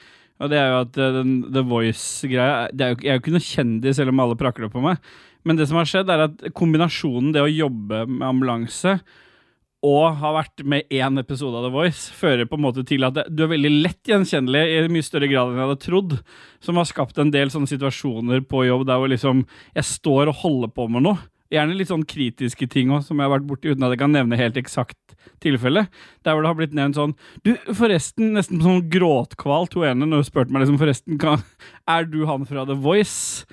Og det er jo at eh, den, The Voice-greia det er jo, ikke- Jeg er jo ikke noe kjendis, selv om alle prakker det på meg. Men det som har skjedd, er at kombinasjonen det å jobbe med ambulanse og har vært med én episode av The Voice, fører på en måte til at det, du er veldig lett gjenkjennelig i mye større grad enn jeg hadde trodd. Som har skapt en del sånne situasjoner på jobb der hvor liksom jeg står og holder på med noe. Gjerne litt sånn kritiske ting også, som jeg har vært borti uten at jeg kan nevne helt eksakt tilfelle. Der hvor det har blitt nevnt sånn Du, forresten, nesten sånn gråtkvalt hun ene når hun spurte meg liksom Forresten, kan, er du han fra The Voice?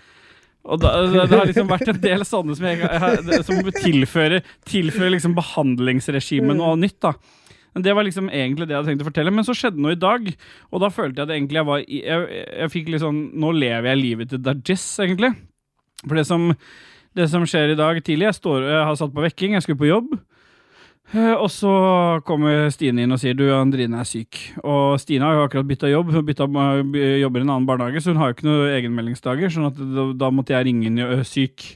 Og da, det, det har liksom vært en del sånne som, jeg, jeg har- det- som tilfører, tilfører liksom behandlingsregimet noe nytt, da. Men Det var liksom egentlig det jeg hadde tenkt å fortelle, men så skjedde noe i dag. Og da følte jeg at egentlig jeg var i, jeg, jeg fikk litt sånn Nå lever jeg livet til Dajis, egentlig. For det som, det som skjer i dag tidlig Jeg, står, jeg har satt på vekking, jeg skulle på jobb. Eh, Og så kommer Stine inn og sier du, Andrine er syk. Og Stine har jo akkurat bytta jobb. Hun bytta, by- jobber i en annen barnehage, så hun har jo ikke noen egenmeldingsdager. Sånn at da, da måtte jeg ringe inn ø, syk.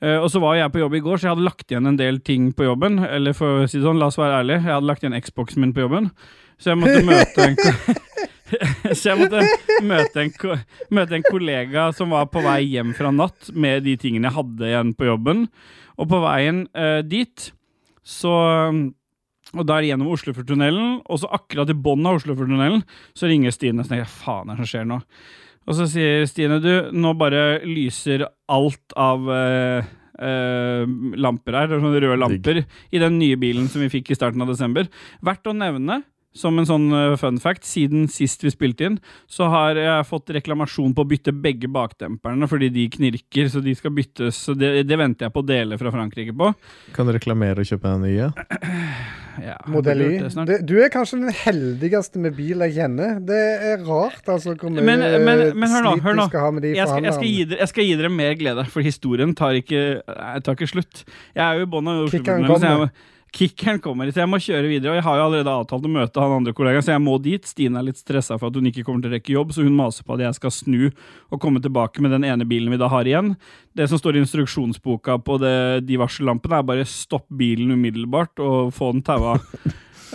Eh, Og så var jeg på jobb i går, så jeg hadde lagt igjen en del ting på jobben. Eller for å si det sånn, la oss være ærlig, jeg hadde lagt igjen Xboxen min på jobben. Så jeg måtte møte en, ko- så jeg måtte møte en, ko- møte en kollega som var på vei hjem fra natt med de tingene jeg hadde igjen på jobben. Og på veien eh, dit, så um, og der gjennom Oslofjordtunnelen, og så akkurat i bånn av Oslofjordtunnelen, så ringer Stine. Så tenker jeg, faen er det som skjer nå? Og så sier Stine, du, nå bare lyser alt av eh, eh, lamper her, sånne røde lamper, i den nye bilen som vi fikk i starten av desember. Verdt å nevne som en sånn eh, fun fact, siden sist vi spilte inn, så har jeg fått reklamasjon på å bytte begge bakdemperne fordi de knirker, så de skal byttes. Så det, det venter jeg på å dele fra Frankrike på.
Kan du reklamere og kjøpe en ny? Ja?
Ja, jeg
Modell
burde
Y.
gjort det snart.
Det- Du er kanskje den heldigste med bil jeg kjenner. Det er rart, altså, hvor mye
Men- men- men hør nå,
slit
hør
du
nå.
skal ha med de
jeg skal, jeg, skal gi
forhandlerne.
dere, jeg skal gi dere mer glede, for historien tar ikke, eh, tar ikke slutt. Jeg er jo i bånn av
Kickeren
Oslo-problemet, så jeg må- Kickeren kommer, så jeg må kjøre videre. Og jeg har jo allerede avtalt å møte han andre kollegaen, så jeg må dit. Stine er litt stressa for at hun ikke kommer til å rekke jobb, så hun maser på at jeg skal snu og komme tilbake med den ene bilen vi da har igjen. Det som står i instruksjonsboka på det, de varsellampene, er bare stopp bilen umiddelbart og få den taua.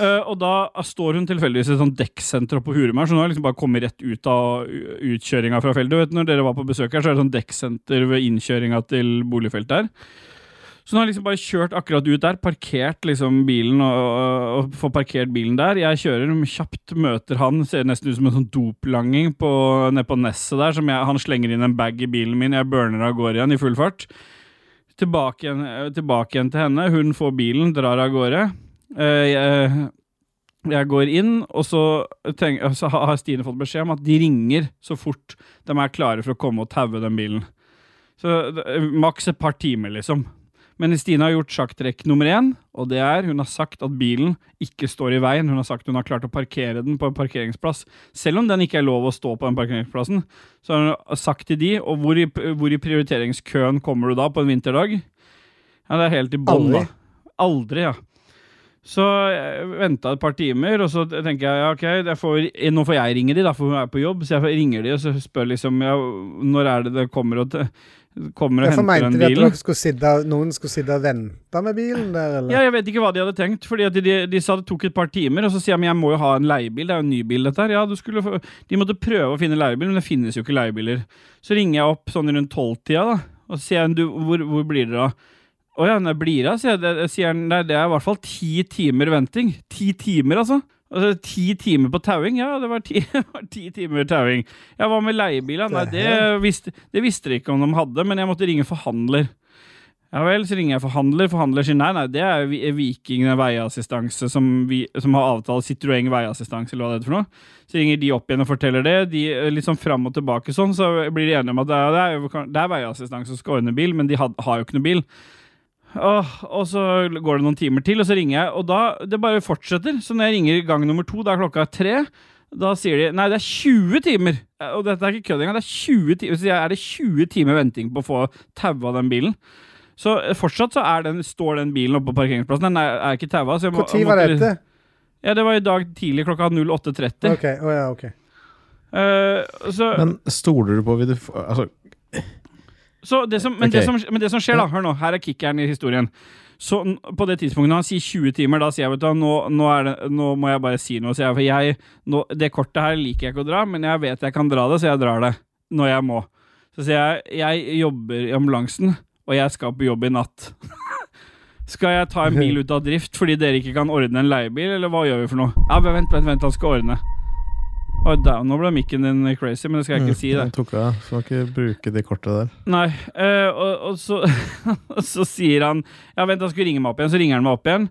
Eh, og da står hun tilfeldigvis i et sånt dekksenter oppe på Hurumær, så hun har liksom bare kommet rett ut av u- utkjøringa fra feltet. Du Vet, når dere var på besøk her, så er det sånn dekksenter ved innkjøringa til boligfeltet her. Så hun har liksom bare kjørt akkurat ut der, parkert liksom bilen og, og, og får parkert bilen der. Jeg kjører kjapt, møter han, ser nesten ut som en sånn doplanging på, nede på Nesset der. Som jeg, han slenger inn en bag i bilen min, jeg burner av gårde igjen i full fart. Tilbake igjen, eh, tilbake igjen til henne, hun får bilen, drar av gårde. Eh, jeg, jeg går inn, og så, tenk, så ha- har Stine fått beskjed om at de ringer så fort de er klare for å komme og taue den bilen. Så det- maks et par timer, liksom. Men Stine har gjort sjakktrekk nummer én, og det er hun har sagt at bilen ikke står i veien. Hun har sagt hun har klart å parkere den på en parkeringsplass. Selv om den ikke er lov å stå på den parkeringsplassen, så har hun sagt til de, og hvor i, hvor i prioriteringskøen kommer du da på en vinterdag? Ja, det er helt i bånn, da.
Aldri.
Aldri, ja. Så venta et par timer, og så tenker jeg ja, ok, jeg får, nå får jeg ringe de, da, for hun er på jobb. Så jeg ringer de og så spør liksom ja, når er det det kommer og, kommer og
Derfor
henter
mente
den
de at
bilen.
dere skulle sitte, noen skulle sitte og vente med bilen der, eller?
Ja, jeg vet ikke hva de hadde tenkt, fordi at de, de, de sa det tok et par timer, og så sier jeg, men jeg må jo ha en leiebil, det er jo en ny bil dette her. Ja, du skulle få... De måtte prøve å finne leiebil, men det finnes jo ikke leiebiler. Så ringer jeg opp sånn rundt tolvtida, da, og så sier jeg, du, hvor, hvor blir det da? Å ja, når blir det, sier jeg, det, sier han, nei, det er i hvert fall ti timer venting. Ti timer, altså. Altså, ti timer på tauing? Ja, det var ti, det var ti timer tauing. Ja, hva med leiebiler? Nei, det visste, det visste de ikke om de hadde, men jeg måtte ringe forhandler. Ja vel, så ringer jeg forhandler. Forhandler sier nei, nei, det er vi- Viking veiassistanse som, vi, som har avtale Citroën veiassistanse, eller hva det heter for noe. Så ringer de opp igjen og forteller det. De eh, litt sånn fram og tilbake sånn, så blir de enige om at det er, det er, jo kan- det er veiassistanse som skal ordne bil, men de had, har jo ikke noe bil. Åh, og så går det noen timer til, og så ringer jeg, og da Det bare fortsetter. Så når jeg ringer gang nummer to, da er klokka tre. Da sier de nei, det er 20 timer! Eh, Og dette er ikke kødd engang. Det er 20 timer. Så sier jeg, er det 20 timer venting på å få taua den bilen? Så eh, fortsatt så er den, står den bilen oppe på parkeringsplassen. Den er, er ikke taua. så jeg må-
Hvor tid var
måtte-
dette?
Ja, Det var i dag tidlig klokka 08.30.
Ok, å ja, ok.
Eh, så,
Men stoler du på vil du, få- altså,
så det som, men, det
Ok.
som, men det som skjer, da Hør nå, her er kickeren i historien. Så n- på det tidspunktet når han sier 20 timer, da sier jeg vet du, hva, nå, nå, er det, nå må jeg bare si noe. sier jeg, for jeg, nå, det kortet her liker jeg ikke å dra, men jeg vet jeg kan dra det, så jeg drar det når jeg må. Så sier jeg jeg jobber i ambulansen, og jeg skal på jobb i natt. Skal jeg ta en bil ut av drift fordi dere ikke kan ordne en leiebil, eller hva gjør vi for noe? Ja, vent, vent, vent, han skal ordne. Å, da, nå ble mikken din crazy, men det skal jeg ikke si. det.
Jeg mm, tok av. Skal ikke bruke det kortet der.
Nei, eh, og, og, så, og så sier han Ja, vent, han skulle ringe meg opp igjen, så ringer han meg opp igjen.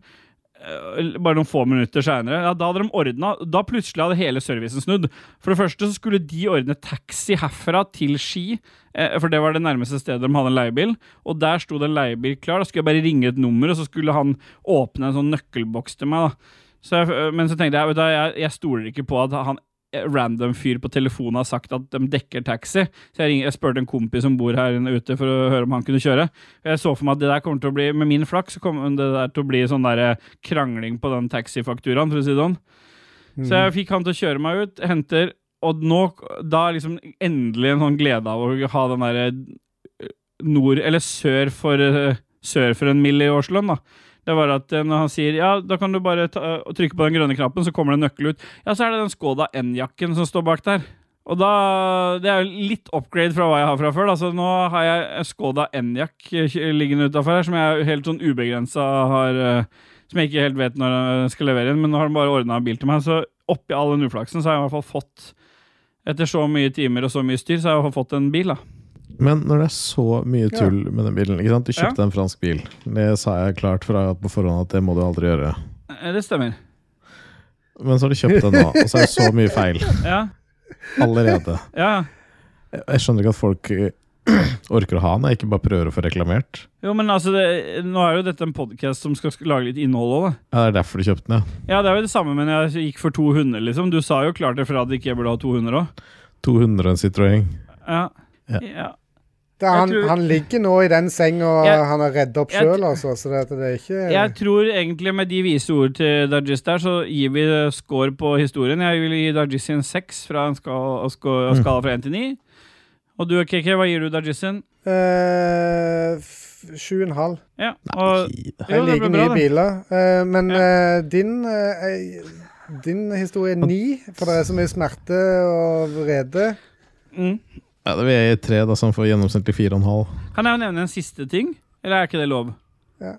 Eh, Bare noen få minutter seinere. Ja, da hadde de ordna Da plutselig hadde hele servicen snudd. For det første så skulle de ordne taxi herfra til Ski, eh, for det var det nærmeste stedet de hadde en leiebil. Og der sto det en leiebil klar. Da skulle jeg bare ringe et nummer, og så skulle han åpne en sånn nøkkelboks til meg. da så jeg, eh, Men så tenkte jeg vet du, hva, jeg, jeg stoler ikke på at han eh, random fyr på telefonen har sagt at de dekker taxi. Så jeg, ringer, jeg spurte en kompis som bor her inne ute for å høre om han kunne kjøre. Og Jeg så for meg at det der kommer til å bli, med min flaks, så kommer det der til å bli sånn der eh, krangling på den taxifakturen, for å si det sånn. Så jeg fikk han til å kjøre meg ut, henter, og nå, da er liksom endelig en sånn glede av å ha den derre nord, eller sør for, eh, sør for en mill i årslønn, da. Det var at eh, når han sier ja, da kan du bare ta, eh, og trykke på den grønne knappen, så kommer det en nøkkel ut. Ja, så er det den Skoda N-jakken som står bak der. Og da, Det er jo litt upgrade fra hva jeg har fra før. Da. Så nå har jeg en Skoda N-jakk eh, liggende utafor her, som jeg helt sånn ubegrensa har eh, Som jeg ikke helt vet når jeg skal levere inn, men nå har de bare ordna en bil til meg. Så oppi all den uflaksen så har jeg i hvert fall fått, etter så mye timer og så mye styr, så har jeg i hvert fall fått en bil, da.
Men når det er så mye tull med den bilen ikke sant? Du kjøpte
Ja.
en fransk bil. Det sa jeg klart fra på forhånd at det må du aldri gjøre.
Eh, Det stemmer.
men så har de kjøpt den nå, og så er det så mye feil
Ja,
allerede.
ja.
Jeg- Jeg skjønner ikke at folk eh, orker å ha den, og ikke bare prøver å få reklamert.
Jo, men altså, det, nå er jo dette en podcast som skal sk- lage litt innhold òg, da.
Ja, Det er derfor de kjøpte den, ja.
Ja, det er jo det samme, men jeg gikk for to hunder, liksom. Du sa jo klart ifra at jeg ikke burde ha to hunder òg.
200 en Citroën.
Ja.
Ja.
Ja.
Det, er han,
Jeg tror-
han ligger nå i den senga
Jeg-
han har redd opp
Jeg-
sjøl, altså. Så det, det er ikke
Jeg tror egentlig med de vise ord til Dajis der, så gir vi score på historien. Jeg vil gi Dajis en seks fra en skala, skala,
Mm.
skala fra én til ni. Og du, KK, hva gir du Dajis sin?
Eh, f- Sju og en halv.
Ja.
Nei,
Og,
gi det.
Jeg
jo, det
liker
ble
mye
bra, det.
biler. eh, men
Ja.
eh, din eh, jeg- Din historie er ni, for det er så mye smerte og vrede.
Mm.
Ja, det vil jeg gi tre, da, som får gjennomsnittlig 4,5.
Kan jeg jo nevne en siste ting? Eller er ikke det lov?
Ja.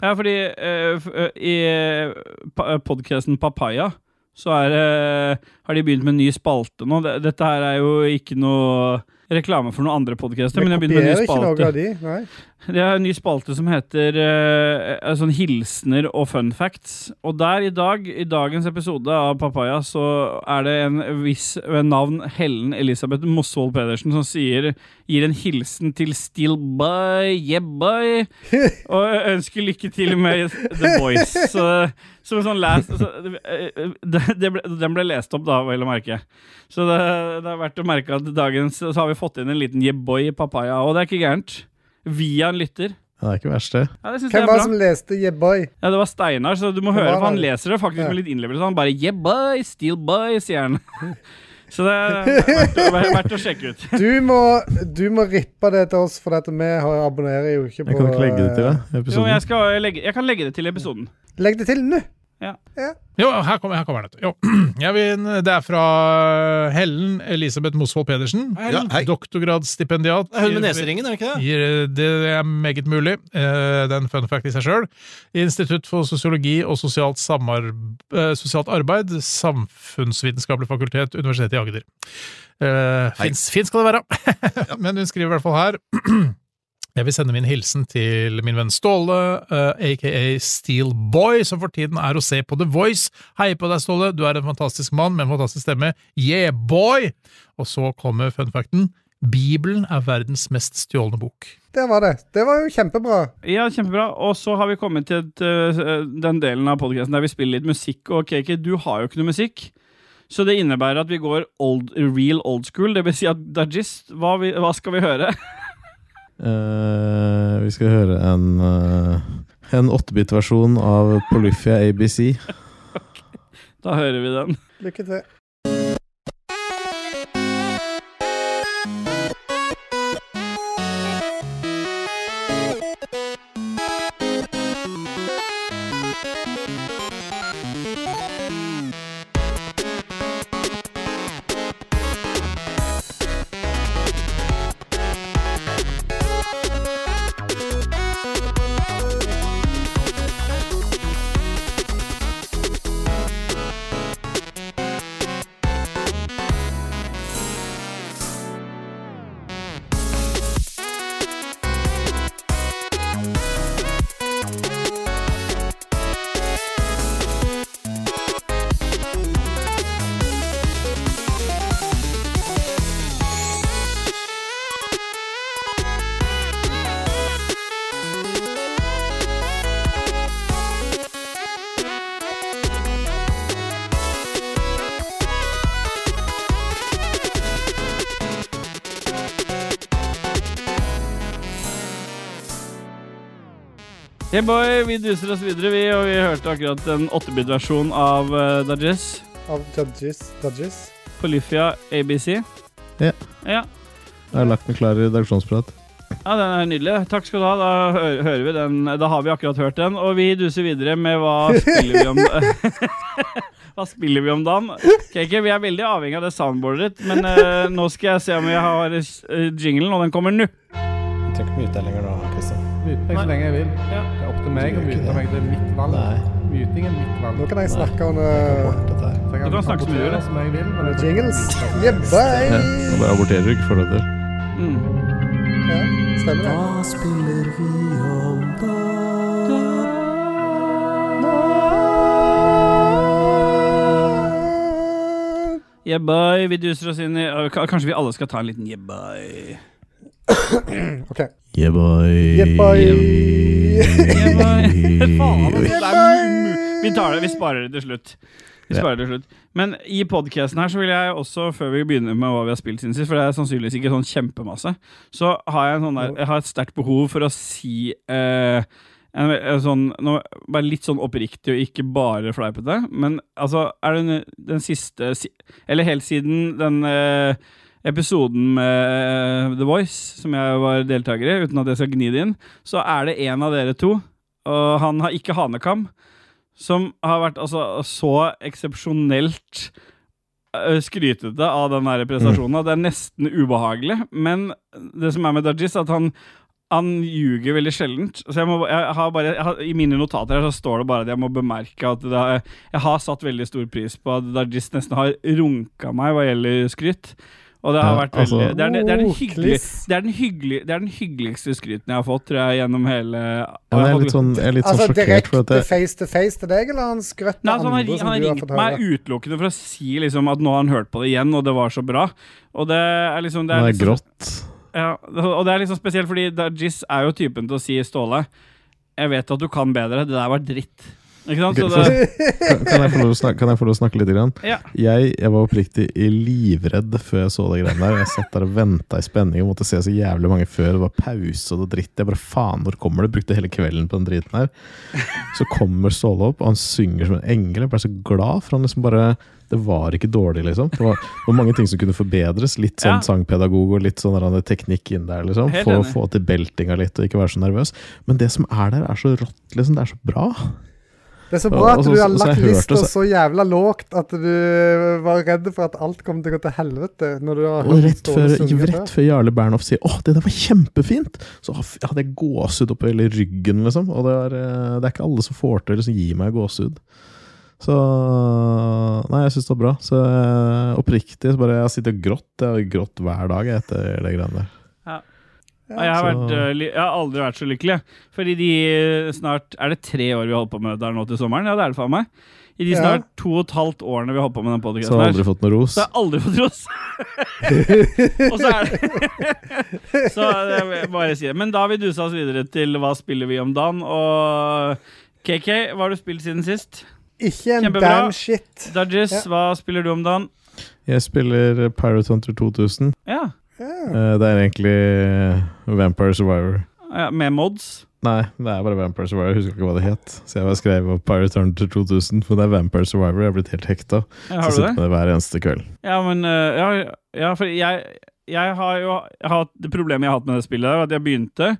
Ja, fordi eh, f- eh, i pa podkasten Papaya så er, det- har de begynt med en ny spalte nå. Det- Dette her er jo ikke noe reklame for noen andre podkaster, men de har begynt med en ny
ikke noe
spalte.
av de. Nei.
Det er en ny spalte som heter eh, eh, sånn hilsener og fun facts. Og der i dag, i dagens episode av Papaya, så er det en viss ved navn Hellen Elisabeth Mosvold Pedersen som sier gir en hilsen til Still Bye, yeah bye, og ønsker lykke til med The Voice. Så, som en sånn last så, eh, det, det ble, Den ble lest opp, da, vel å merke. Så det, det er verdt å merke at dagens Så har vi fått inn en liten yeah boy i Papaya, og det er ikke gærent. Via en lytter.
Ja, det er ikke verst, det.
Ja, det synes
Hvem
jeg er
var
bra.
det som leste Yeah Boy?
Ja, det var Steinar, så du må
Det
høre,
var
for han
han.
leser det faktisk
Ja.
med litt innlevelse. Han bare yeah boy, still boy, sier han. Så det er verdt å, verdt å sjekke ut.
Du må, du må rippe det til oss, for at vi har, abonnerer jo ikke på
Jeg kan ikke legge det til
eh,
deg.
Jo,
Episoden.
men jeg, skal legge, jeg kan legge det til episoden.
Legg det til nå!
Jo, her kommer, her kommer det. Jo. Jeg vil, det er fra Hellen Elisabeth Mosvold Pedersen.
Ja, hei.
Doktorgradsstipendiat.
Det er hun med neseringen, er det ikke det?
Gir- Det er meget mulig. Eh, Det er en fun fact i seg sjøl. Institutt for sosiologi og sosialt, samarb- eh, sosialt arbeid, Samfunnsvitenskapelig fakultet, Universitetet i Agder. Eh,
Hei.
Fins fins skal det være! Men hun skriver i hvert fall her Jeg vil sende min hilsen til min venn Ståle, eh, aka Steel Boy, som for tiden er å se på The Voice. Hei på deg, Ståle. Du er en fantastisk mann med en fantastisk stemme. Yeah, boy! Og så kommer fun facten. Bibelen er verdens mest stjålne bok.
Der var det. Det var jo kjempebra.
Ja, kjempebra. Og så har vi kommet til et, øh, den delen av podkasten der vi spiller litt musikk. Og KK, du har jo ikke noe musikk. Så det innebærer at vi går old, real old school. Det vil si at Dajis, hva, vi, hva skal vi høre?
Eh, vi skal høre en uh, En 8-bit-versjon av Polyphia ABC.
Da hører vi den.
Lykke til.
Hey boy, vi duser oss videre, vi, og vi hørte akkurat en 8-bit-versjon av uh, Dajis.
Av Dodges. Dodges.
Polyphia ABC.
Ja.
ja.
Jeg har lagt den klar i redaksjonsprat.
Ja, den er nydelig. Takk skal du ha. Da hø- hører vi den. Da har vi akkurat hørt den. Og vi duser videre med hva spiller vi om Hva spiller vi om dagen? Kake, vi er veldig avhengig av det soundboardet ditt, men eh, nå skal jeg se om jeg har eh, jinglen, og den kommer nå.
Du trenger ikke mute deg lenger nå, Kristian.
Mute meg så lenge jeg vil. Det er opp til meg å mute meg. Det er mitt valg. Muting er mitt valg.
Nå kan jeg snakke om uh,
Så jeg
Du kan snakke som du vil,
rapportere
da.
som jeg vil. men jeg tenker-
jingles. Yeah, bye!
Bare aborterer du ikke for det til.
Mm.
Ja, stemmer
Ah,
det.
Hva spiller vi om Yeah, boy. Vi duser oss inn i øh, ka- Kanskje vi alle skal ta en liten yeah, boy.
OK.
Yeah, boy.
Yeah, boy.
Yeah, boy. Faen, altså, det er
boy.
mu- vi tar det, vi sparer det til slutt. Vi
Ja.
sparer det til slutt. Men i podkasten her så vil jeg også, før vi begynner med hva vi har spilt siden sist, for det er sannsynligvis ikke sånn kjempemasse, så har jeg, en sånn der, jeg har et sterkt behov for å si eh, en, en sånn, nå, Bare litt sånn oppriktig og ikke bare fleipete, men altså Er det den, den siste si- Eller helt siden den eh, episoden med eh, The Voice, som jeg var deltaker i, uten at jeg skal gni det inn, så er det en av dere to, og han har ikke hanekam, som har vært altså, så eksepsjonelt eh, skrytete av den her prestasjonen. at Det er nesten ubehagelig. Men det som er med Dajis, at han han ljuger veldig sjeldent. Så jeg må, jeg har bare, jeg har, I mine notater her så står det bare at jeg må bemerke at det er, jeg har satt veldig stor pris på at Dajis nesten har runka meg hva gjelder skryt. Og det har
Ja,
vært veldig
altså-
det, er, det, er den
Oh,
hyggelige,
kliss.
det, er den hyggelige, det er den hyggeligste skryten jeg har fått, tror jeg, gjennom hele
Ja, men jeg er litt sånn, jeg er litt sånn
Altså
sjokkert. For at
direkte
jeg,
face to face til deg, eller han skrøt
Nei,
med
altså, han, har,
andre
ri-
som
han har
du har
ringt
fått
meg
høre?
utelukkende for å si liksom, at nå har han hørt på det igjen, og det var så bra. Og det er liksom Det
det
er,
er
liksom,
grått.
ja, og det er liksom spesielt, fordi Dajis er jo typen til å si Ståle Jeg vet at du kan bedre, det der var dritt. Ikke
Altså,
sant?
Ok,
Så
Kan
det,
kan jeg få lov å snakke, kan jeg få lov å snakke litt? Grann?
Ja.
Jeg, jeg var oppriktig livredd før jeg så de greiene der. Jeg satt der og venta i spenning og måtte se så jævlig mange før. Det var pause og det dritt. Jeg bare faen, når kommer det? Brukte hele kvelden på den driten her. Så kommer Ståle opp, og han synger som en engel. Jeg ble så glad, for han liksom bare Det var ikke dårlig, liksom. Det var, det var mange ting som kunne forbedres. Litt sånn
Ja.
sangpedagog og litt sånn der, teknikk inn der, liksom.
Helt
For å
enig.
få til beltinga litt og ikke være så nervøs. Men det som er der, er så rått, liksom. Det er så bra.
Det er så bra at
Og så-
du har
altså, så- så
lagt
jeg hørte
lista
så-
så jævla lågt at du eh, var redd for at alt kom til å gå til helvete. Når du har
Og
hørt
rett
Ståle
før,
synge
rett før Jarle Bernhoft sier 'Å, det der var kjempefint', så f- hadde jeg gåsehud oppi hele ryggen, liksom. Og det er, eh, det er ikke alle som får til å liksom, gi meg gåsehud. Så Nei, jeg syns det var bra. Så eh, oppriktig så bare Jeg har sittet og grått. Jeg har grått hver dag jeg, etter de greiene der.
og jeg, har
så-
vært, øh, li- jeg har aldri vært så lykkelig. jeg. Fordi de øh, snart Er det tre år vi har holdt på med det her nå til sommeren? Ja, det er det faen meg. I de
Ja.
snart to og et halvt årene vi har holdt på med den
Så jeg har
podkasten
aldri
her,
fått noe ros.
Så jeg har aldri fått ros. og så er det Så jeg vil bare si det. Men da har vi dusa oss videre til hva spiller vi om dagen, og KK, hva har du spilt siden sist?
Ikke en
Kjempebra.
damn shit.
Dodges,
Ja.
hva spiller du om dagen?
Jeg spiller Pirate Hunter 2000.
Ja,
Ja.
Eh, Det er egentlig eh, Vampire Survivor.
ja med mods.
Nei, det er bare Vampire Survivor. Jeg husker ikke hva det het. Så jeg bare skrev opp Pirate Hunter 2000, for det er Vampire Survivor. Jeg er blitt helt hekta.
Ja, Har
Så
du det?
sitter med det hver eneste kveld.
Ja, men øh, ja, ja, for jeg, jeg har jo hatt Det problemet jeg har hatt med det spillet, er at jeg begynte,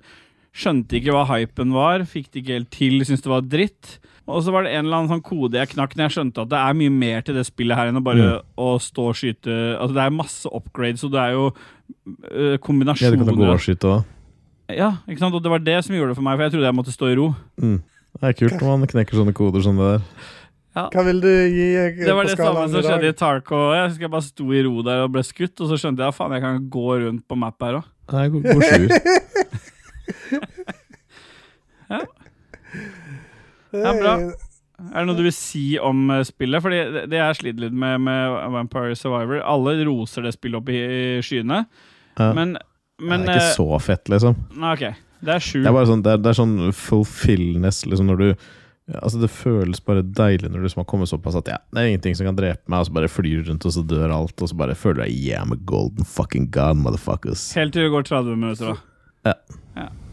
skjønte ikke hva hypen var, fikk det ikke helt til, syntes det var dritt. Og så var det en eller annen sånn kode jeg knakk når jeg skjønte at det er mye mer til det spillet her enn å bare
Mm.
å stå og skyte Altså, det er masse upgrades, og det er jo
Ja, du
øh,
kan jo gå og
kombinasjoner
skyte òg.
Ja, ikke sant? Og det var det som gjorde det for meg, for jeg trodde jeg måtte stå i ro.
Mm. Det er kult når man knekker sånne koder som det der.
Hva vil du gi eh,
Det var
på
det samme
skalaen
som
i
skjedde i
dag?
Tarko. Jeg husker jeg bare sto i ro der og ble skutt, og så skjønte jeg faen, jeg kan gå rundt på map her òg.
Nei, god, god sjuer.
Ja, bra. Er det noe du vil si om eh, spillet? Fordi det- det jeg sliter litt med med Vampire Survivor Alle roser det spillet opp i i skyene,
Ja.
men, men
det er ikke så fett, liksom.
eh, Nei, OK. Det er sju.
Det er bare sånn, det er, det er sånn fulfillness liksom når du ja, Altså Det føles bare deilig når du liksom har kommet såpass at ja, det er ingenting som kan drepe meg, og så bare flyr du rundt, og så dør alt, og så bare føler du deg yeah, I'm a golden fucking god, motherfuckers.
Helt til det går 30 minutter, da.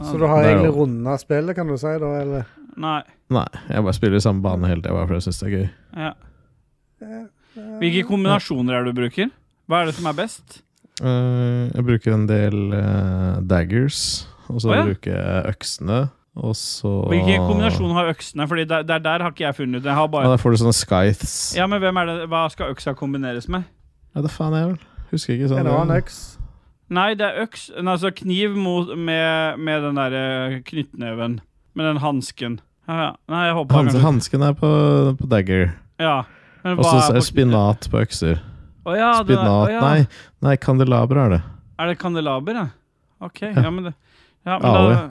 Så du har
Det er
egentlig
jo-
runda spillet, kan du si, da? Eller?
Nei.
Nei, jeg bare spiller i samme bane hele tida, bare fordi jeg syns det er gøy.
Ja. Hvilke kombinasjoner er det du bruker? Hva er det som er best?
Eh, jeg bruker en del eh, daggers, og så
Å, ja.
bruker jeg øksene, og så
Hvilke kombinasjoner har øksene? Fordi der, der, der har ikke jeg funnet ut. Jeg har
Ja,
bare
da får du sånne scythes. Ja.
Ja, men hvem er det, Hva skal øksa kombineres med?
det faen jeg vel. Husker ikke sånn.
En annen øks?
Nei, det er øks nei, Altså kniv mot, med, med den derre knyttneven. Med den hansken. Ja, ja. Nei, jeg håpa
Hans,
kanskje
hansken er på, på dagger,
Ja. Men
og så
hva
er det
på-
spinat på økser.
Å ja, det der-
Spinat,
å ja.
nei, nei, kandelaber er det.
Er det kandelaber, ja? OK. Ja, men, det, ja, men
Ave.
da,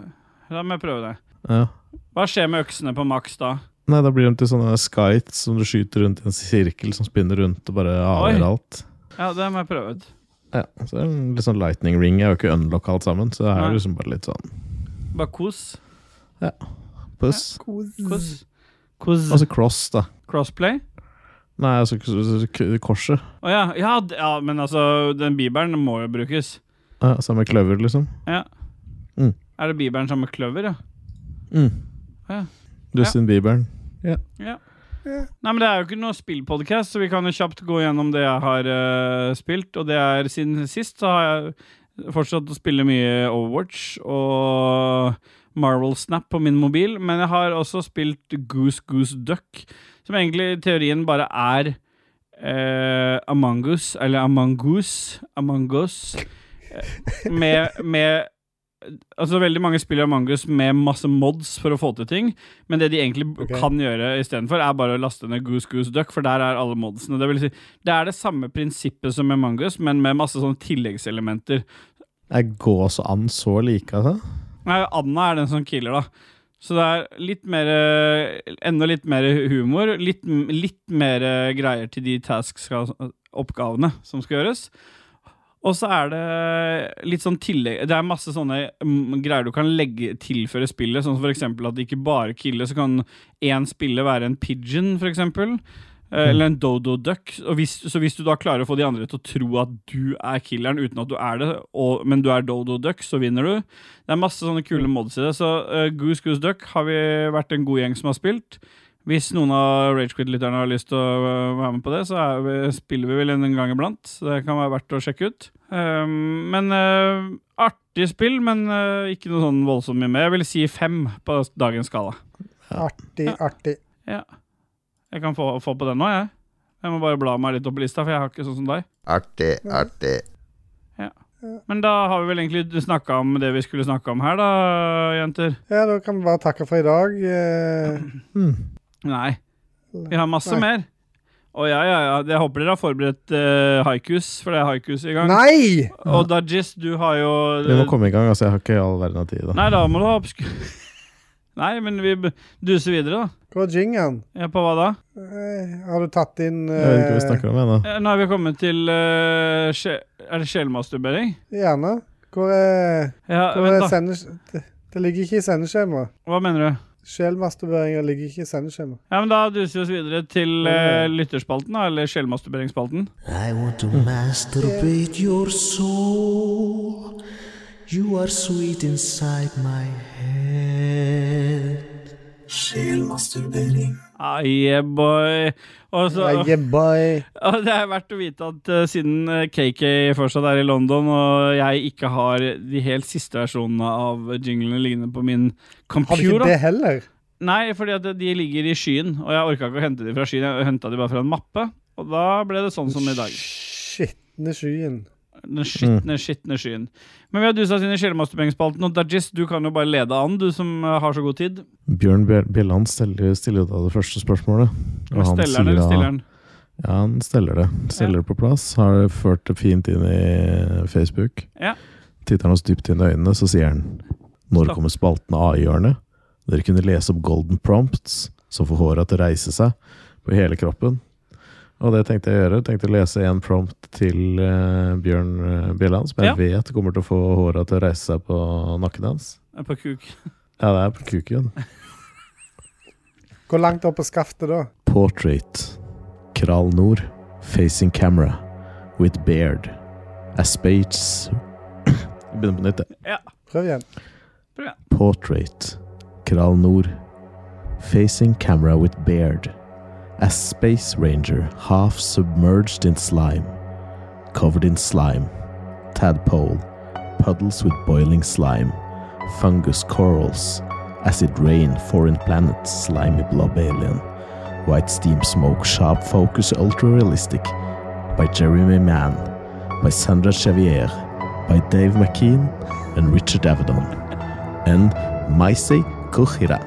da må jeg prøve det.
Ja.
Hva skjer med øksene på maks da?
Nei, da blir de til sånne skytes som du skyter rundt i en sirkel som spinner rundt og bare avgjør alt.
Ja, det må jeg prøve ut.
Ja, så det er en litt sånn lightning ring. Jeg har jo ikke unlocka alt sammen, så det er
Nei.
jo liksom bare litt sånn
Bare kos.
puss.
Kos. Kos.
Altså cross, da.
Crossplay.
Nei, altså k- s- k- korset.
Å ja. Ja, d- ja, men altså, den bibelen må jo brukes.
Ja, Samme kløver, liksom.
Ja.
Mm.
Er det bibelen sammen med kløver, ja?
Mm.
Ja.
Justin Bieberen.
Nei, men Det er jo ikke noe spillpodcast, så vi kan jo kjapt gå gjennom det jeg har eh, spilt. Og det er siden sist så har jeg fortsatt å spille mye Overwatch og Marvel Snap på min mobil. Men jeg har også spilt Goose Goose Duck, som egentlig i teorien bare er eh, Among Us, eller Among Us, Among Us eh, med, med Altså Veldig mange spiller Among Us med masse mods for å få til ting. Men det de egentlig b-
Ok.
kan gjøre istedenfor, er bare å laste ned Goose Goose Duck, for der er alle modsene. Det, vil si, det er det samme prinsippet som med Among Us, men med masse sånne tilleggselementer.
Er gås og and så like, altså?
Nei, Anna er den som killer, da. Så det er litt mer eh, Enda litt mer humor. Litt, m- litt mer eh, greier til de tasks, eh, oppgavene, som skal gjøres. Og så er det litt sånn tillegg Det er masse sånne mm, greier du kan legge tilføre spillet. Sånn som for eksempel at det ikke bare killer, så kan én spiller være en pigeon, for eksempel. eh, Eller en dodo duck. Og hvis, så hvis du da klarer å få de andre til å tro at du er killeren, uten at du er det, og, men du er dodo duck, så vinner du. Det er masse sånne kule mods i det. Så eh, Goose Goose Duck har vi vært en god gjeng som har spilt. Hvis noen av Ragequid-lytterne har lyst til å eh, være med på det, så er vi, spiller vi vel en gang iblant. Så det kan være verdt å sjekke ut. Um, men eh, artig spill, men eh, ikke noe sånn voldsomt mye mer. Jeg vil si fem på dagens skala.
Artig, artig.
Jeg kan få, få på den nå, jeg. Jeg må bare bla meg litt opp i lista, for jeg har ikke sånn som deg.
Artig, artig.
Men da har vi vel egentlig snakka om det vi skulle snakke om her, da, jenter.
Ja, da kan vi bare takke for i dag. Eh,
Nei. Vi har masse
Nei.
mer. Å ja, ja, ja. Jeg håper dere har forberedt eh, haikus, for det er haikus i gang.
Nei!
Og Dajis, du har jo eh,
Vi må komme i gang, altså. Jeg har ikke all verden av tid. da
Nei, da må du ha oppsku... Nei, men vi b- duser videre, da.
Hvor er jingeren?
Ja, på hva da?
Eh, har du tatt inn
Jeg vet ikke hva vi
eh,
snakker om ennå.
Eh, Nå har vi kommet til eh, sje... Er det sjelmasturbering?
Gjerne. Hvor er,
Ja,
hvor er
vent, da.
sendes... Det, det ligger ikke i sendeskjemaet.
Hva mener du?
Sjelmasturberinga ligger ikke i sendeskjemaet.
Ja, men Da duser vi oss videre til eh,
Mm.
lytterspalten, da, eller sjelmasturberingsspalten.
I want to masturbate your soul. You are sweet inside my head. Sjelmasturbering.
Ah, yeah, boy. Og så,
Yeah, boy.
Og det er verdt å vite at eh, siden eh, KK fortsatt er i London, og jeg ikke har de helt siste versjonene av jinglene liggende på min
Har du ikke
computer
det heller?
Nei, fordi at de ligger i skyen, og jeg orka ikke å hente de fra skyen. Jeg henta de bare fra en mappe, og da ble det sånn som i dag.
Skitne skyen.
Den
Mm.
skitne, skitne skyen. Men vi har dusa oss inn i sjelmasturberingsspalten, og Dajis, du kan jo bare lede an, du som eh, har så god tid.
Bjørn Bjel- Bjelland steller, stiller jo da det første spørsmålet. Og han
Steller den,
sier
eller
da-
stiller den?
Ja, han steller det. Steller det på plass. Har ført det fint inn i Facebook.
Ja.
Titter han oss dypt inn i øynene, så sier han Når
Stopp.
kommer spalten av AI-hjørnet? Dere kunne lese opp golden prompts, så får håret til å reise seg på hele kroppen. Og det tenkte jeg å gjøre. Tenkte å lese en prompt til eh, Bjørn eh, Bjelland, som jeg
Ja.
vet kommer til å få håret til å reise seg på nakken hans.
Eh, På kuk.
Ja, det er på kuken.
Hvor langt opp på skaftet da?
Portrait. Kral Nord. Facing camera. With beard. A space Vi begynner på nytt, jeg.
Prøv igjen.
Portrait. Kral Nord. Facing camera with beard. A space ranger half submerged in slime. Covered in slime. Tadpole. Puddles with boiling slime. Fungus corals. Acid rain, foreign planets, slimy blob alien. White steam smoke, sharp focus, ultra realistic. By Jeremy Mann. By Sandra Chevier. By Dave McKean and Richard Avedon and Maisei Kuchira.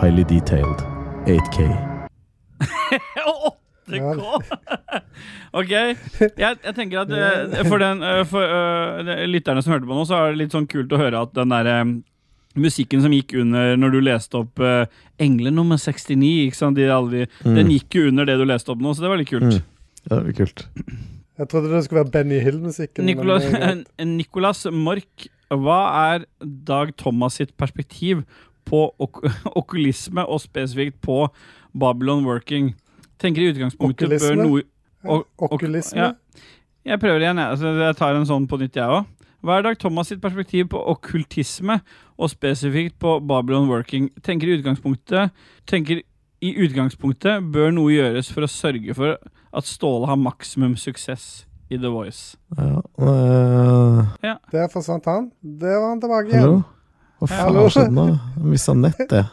Highly detailed. 8K.
Og 8K! ok. Jeg, jeg tenker at eh, for, den, eh, for eh, de lytterne som hørte på nå, så er det litt sånn kult å høre at den derre Musikken som gikk under når du leste opp uh, 'Engle nummer 69', ikke sant? De, alle de, den gikk jo under det du leste opp nå, så det var litt kult.
Ja, det blir kult.
Jeg trodde det skulle være Benny Hill-musikken. men eh,
Nicolas,
det er greit.
Nicolas eh, Mork, hva er Dag Thomas sitt perspektiv på ok okulisme, og spesifikt på Babylon Working? Tenker i utgangspunktet
Okulisme?
bør noe... og- ok-
Okulisme?
ja. Jeg prøver igjen, jeg. Altså, jeg tar en sånn på nytt, jeg òg. Hva er Dag Thomas sitt perspektiv på okkultisme, og spesifikt på Babylon Working? Tenker i utgangspunktet Tenker i utgangspunktet bør noe gjøres for å sørge for at Ståle har maksimum suksess i The Voice.
Ja, eh,
Der forsvant han. Der var han tilbake igjen.
hallo? Hva faen
Hallo?
har skjedd nå? Jeg mista nett, jeg.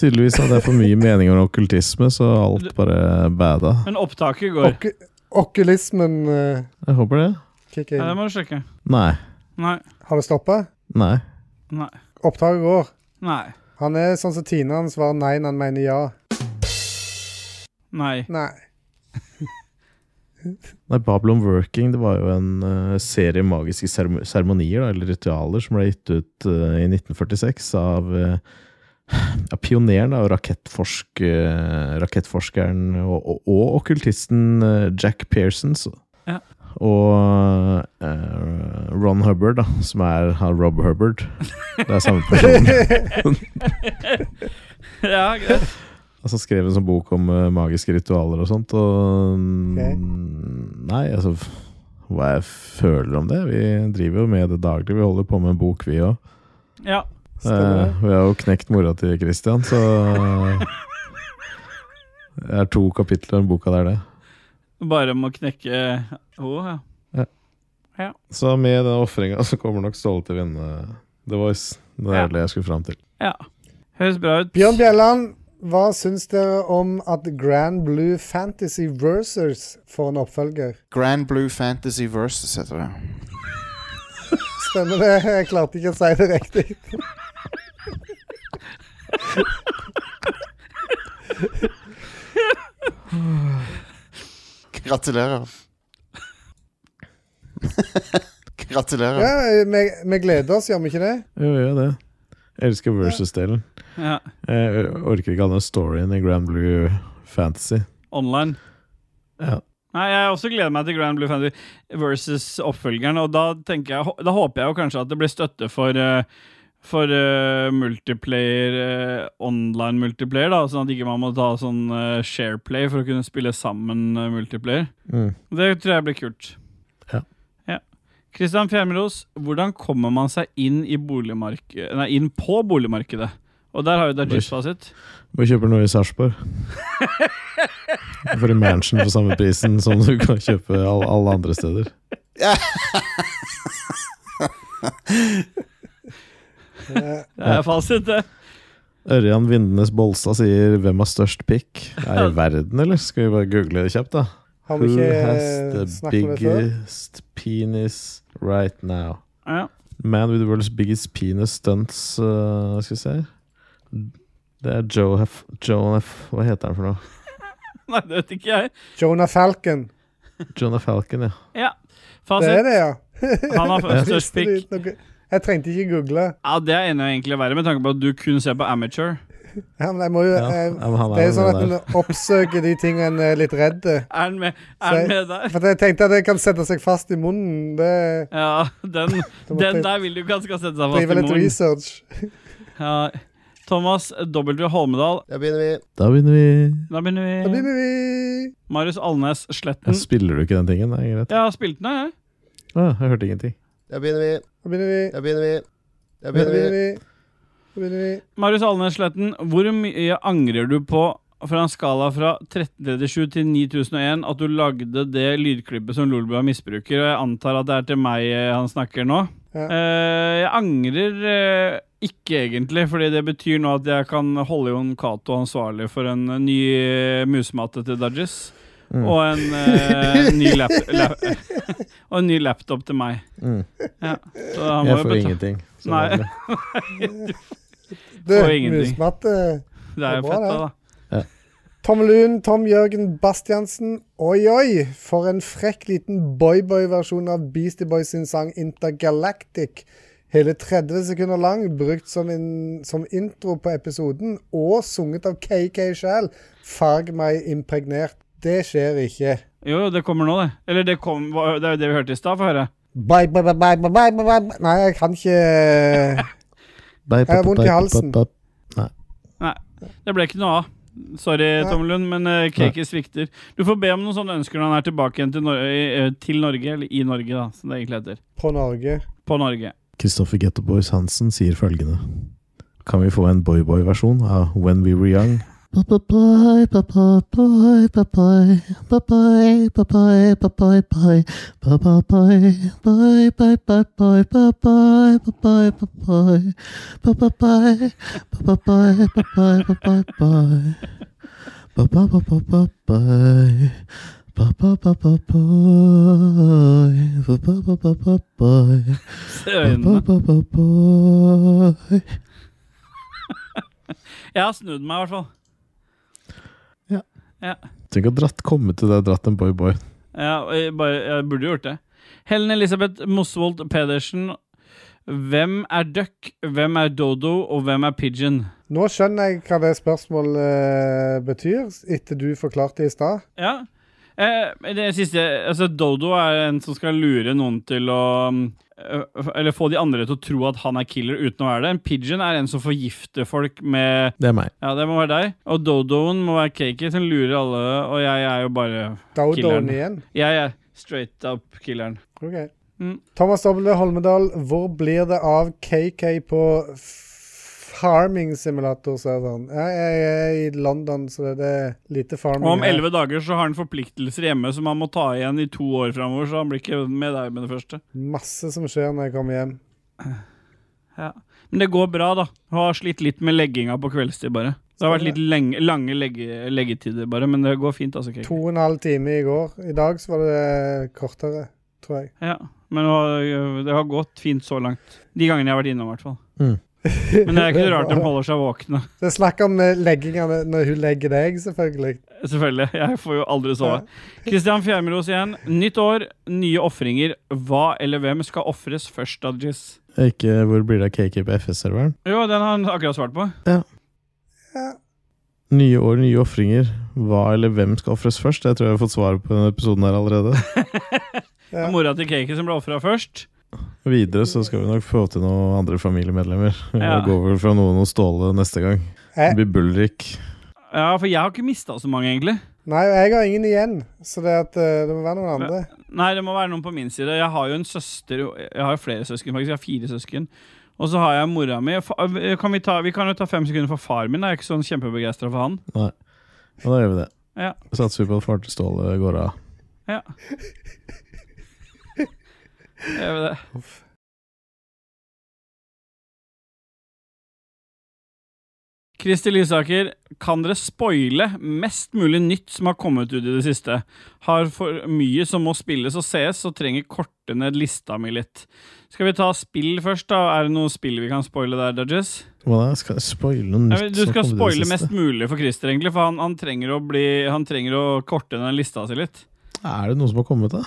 Tydeligvis hadde jeg for mye meninger om okkultisme, så alt bare bada.
Men opptaket går.
Ok okulismen uh,
Jeg håper det.
kicker
Ja, det
inn.
må du sjekke.
Nei.
Nei.
Har det stoppa?
Nei.
Nei.
Opptaket går.
Nei.
Han er sånn som Tina, han svarer nei når han mener ja.
Nei.
Nei.
Nei, Babylon Working det var jo en eh, serie magiske serem- seremonier, da, eller ritualer, som ble gitt ut eh, i 1946 av eh, ja, pioneren da, og rakettforsk, eh, rakettforskeren og, og, og okkultisten eh, Jack Pearson. Så.
Ja.
Og eh, Ron Hubbard, da, som er han Rob Hubbard. Det er samme person.
Ja, greit.
Altså skrev en sånn bok om eh, magiske ritualer og sånt, og mm,
Ok.
Nei, altså f- Hva jeg føler om det? Vi driver jo med det daglig. Vi holder på med en bok, vi òg.
Ja.
Stemmer det.
vi har jo knekt mora til Christian, så Det er to kapitler i den boka der, det.
Bare om å knekke Å, ja.
Så med den ofringa så kommer nok Ståle til å vinne The Voice. Det
Ja.
er det jeg skulle fram til.
ja. Høres bra ut.
Bjørn Bjelland, hva syns dere om at Grand Blue Fantasy Versers får en oppfølger?
Grand Blue Fantasy Versus heter det.
Stemmer det? Jeg klarte ikke å si det riktig.
Gratulerer. Gratulerer.
Ja, Vi vi gleder oss, gjør vi ikke det?
Jo, gjør det. Jeg elsker versus-delen.
Ja.
Jeg orker ikke all den storyen i Grand Blue Fantasy.
Online.
Ja.
Nei, jeg også gleder meg til Grand Blue Fantasy versus oppfølgeren, og da, tenker jeg, da håper jeg jo kanskje at det blir støtte for eh, for eh, multiplayer, eh, online multiplayer, da, sånn at ikke man må ta sånn eh, shareplay for å kunne spille sammen eh, multiplayer.
Mm.
Det tror jeg blir kult.
Ja.
Ja. Kristian Fjermeros, hvordan kommer man seg inn, i boligmark- nei, inn på boligmarkedet? Og der har jo Dajis fasit.
Må kjøpe noe i Sarpsborg. For en mansion for samme prisen som du kan kjøpe all, alle andre steder.
Eh,
Det er fasit, det.
Ørjan Vindenes Bolstad sier 'Hvem har størst pikk?' Er det i verden, eller? Skal vi bare google det kjapt, da?
Har vi
Who
ikke eh,
has the
snakket om det før?
biggest penis right now?
Ja.
Man with the world's biggest penis stunts eh, Skal vi se Det er Joe F. Joe F. Hva heter han for noe?
Nei, det vet ikke jeg.
Jonah Falcon.
Jonah Falcon, ja.
Ja.
Det er
Fasit.
det, ja.
Han har
Ja.
størst pikk.
Jeg trengte ikke google.
Ja, det er enda egentlig verre, med tanke på at du kun ser på amateur.
Ja, men jeg må jo,
Ja,
jeg,
ja, men han er
det er jo
jo
sånn at
med
en oppsøker de tingene en er litt redd.
Er han med,
Så
er
jeg-
han med der?
For jeg tenkte at det kan sette seg fast i munnen. Det
Ja, den,
Da måtte
den
jeg-
der vil du ikke at skal sette seg fast
driver
i
litt
munnen.
research.
Ja. Thomas W. Holmedal,
Da begynner vi.
Da begynner vi
da
Da
begynner vi.
begynner vi.
Marius Alnes Sletten.
Mm.
ja, Spiller du ikke den tingen? Nei, greit.
Jeg har spilt den, jeg.
Ah, jeg hørte ingenting.
Da begynner vi.
Da begynner vi.
Da begynner vi. Da
Da begynner
begynner vi.
vi. Da begynner vi.
Marius Alnes Sletten, hvor mye angrer du på fra en skala fra 1337 til 9001 at du lagde det lydklippet som Lolbua misbruker? Og jeg antar at det er til meg eh, han snakker nå.
Ja.
Eh, jeg angrer eh, ikke egentlig, fordi det betyr nå at jeg kan holde Jon Cato ansvarlig for en eh, ny eh, musematte til Dudges.
Mm.
Og en, eh, ny lap lap og en ny laptop til meg.
Mm.
Ja. Så han må
Jeg får
jo betale.
ingenting. så
Nei.
det er bra.
Du,
Får ingenting.
musmatte.
Det er
Det
jo
var
fett,
det.
da. da.
Tom Lund, Tom Jørgen Bastiansen. Oi, oi! For en frekk liten boyboy-versjon av Beastie Boys sin sang Intergalactic. Hele 30 sekunder lang, brukt som, en, som intro på episoden, og sunget av KK sjæl. Farg meg impregnert. Det skjer ikke.
Jo, det kommer nå, det. Eller det, kom, hva- det er jo det vi hørte i stad. Få høre.
Bye, bye, bye, bye, bye, bye, bye, bye. Nei, jeg kan ikke eh,
Jeg
har vondt i halsen.
Det ble ikke noe av. Sorry,
Nei.
Tommelund, men uh, cake svikter. Du får be om noen sånne ønsker når han er tilbake igjen til, Nor i- eh, til Norge, eller i Norge, da, som det egentlig heter.
på Norge.
På Norge.
Kristoffer Getteboys Hansen sier følgende Kan vi få en boyboy-versjon av When We Were Young?
Se øynene. Jeg har snudd meg, i hvert fall.
Tenk å dratt komme til det dratt en boyboy.
Ja, og jeg, bare, jeg burde jo gjort det. Helen Elisabeth Mosvold Pedersen. Hvem er duck, hvem er dodo, og hvem er pigeon?
Nå skjønner jeg hva det spørsmålet eh, betyr, etter du forklarte det i stad.
Ja. Eh, det siste Altså, dodo er en som skal lure noen til å mm, eh, Eller få de andre til å tro at han er killer uten å være det. En pigeon er en som forgifter folk med
Det er meg.
Ja, det må være deg. Og dodoen må være cakey, som lurer alle. Og jeg er jo bare Killeren.
Daudoen igjen.
Jeg er straight up killeren.
Ok.
Mm.
Thomas W. Holmedal, hvor blir det av KK på f- Farming Simulator? serveren Jeg jeg er i London, så det er lite farming.
Og om
her.
elleve dager så har han forpliktelser hjemme som han må ta igjen i to år framover, så han blir ikke med deg med det første.
Masse som skjer når jeg kommer hjem.
Men det går bra, da. Han har slitt litt med legginga på kveldstid, bare. Det har vært litt lenge, lange legge, leggetider, bare, men det går fint, altså.
To
Kake.
og en halv time i går. I dag så var det kortere, tror jeg.
Ja. Men det har- det har gått fint så langt. De gangene jeg har vært innom, i hvert fall.
Mm.
Men det er ikke rart de holder seg våkne.
Det er snakk om eh, leggingene når hun legger deg, selvfølgelig.
Selvfølgelig. Jeg får jo aldri sove. Kristian Fjermeros igjen. Nytt år, nye ofringer. Hva eller hvem skal ofres først, Adjis?
Ikke hvor blir det av KK på FS-serveren?
Jo, den har han akkurat svart på.
Nye år, nye ofringer. Hva eller hvem skal ofres først? Jeg tror jeg har fått svar på denne episoden her allerede.
Ja.
Det er Mora til Keiki som ble ofra først.
Videre så skal vi nok få til noen andre familiemedlemmer.
Ja.
Det går vel fra noen og Ståle neste gang.
Eh.
Det blir Bulrik.
Ja, for jeg har ikke mista så mange, egentlig.
Nei, og jeg har ingen igjen, så det, at, eh, det må være noen andre.
Nei, det må være noen på min side. Jeg har jo en søster Jeg har jo flere søsken, faktisk. Jeg har fire søsken. Og så har jeg mora mi. Fa- eh, Kan vi, ta, vi kan jo ta fem sekunder for far min. Jeg er ikke sånn kjempebegeistra for han.
Og da gjør vi det.
Ja.
Satser vi på at far til Ståle går av.
Jeg vet det. Kristi Lysaker, kan dere spoile mest mulig nytt som har kommet ut i det siste? Har for mye som må spilles og sees, så trenger korte ned lista mi litt. Skal vi ta spill først, da? Er det noe spill vi kan spoile der, Dodges?
Hva da? Skal jeg spoile noe
Nei,
nytt?
men Du
som kom
skal
ut i det
spoile
siste?
mest mulig for Christer, egentlig, for han, han, trenger, å bli, han trenger å korte ned lista si litt.
Er det noe som har kommet, da?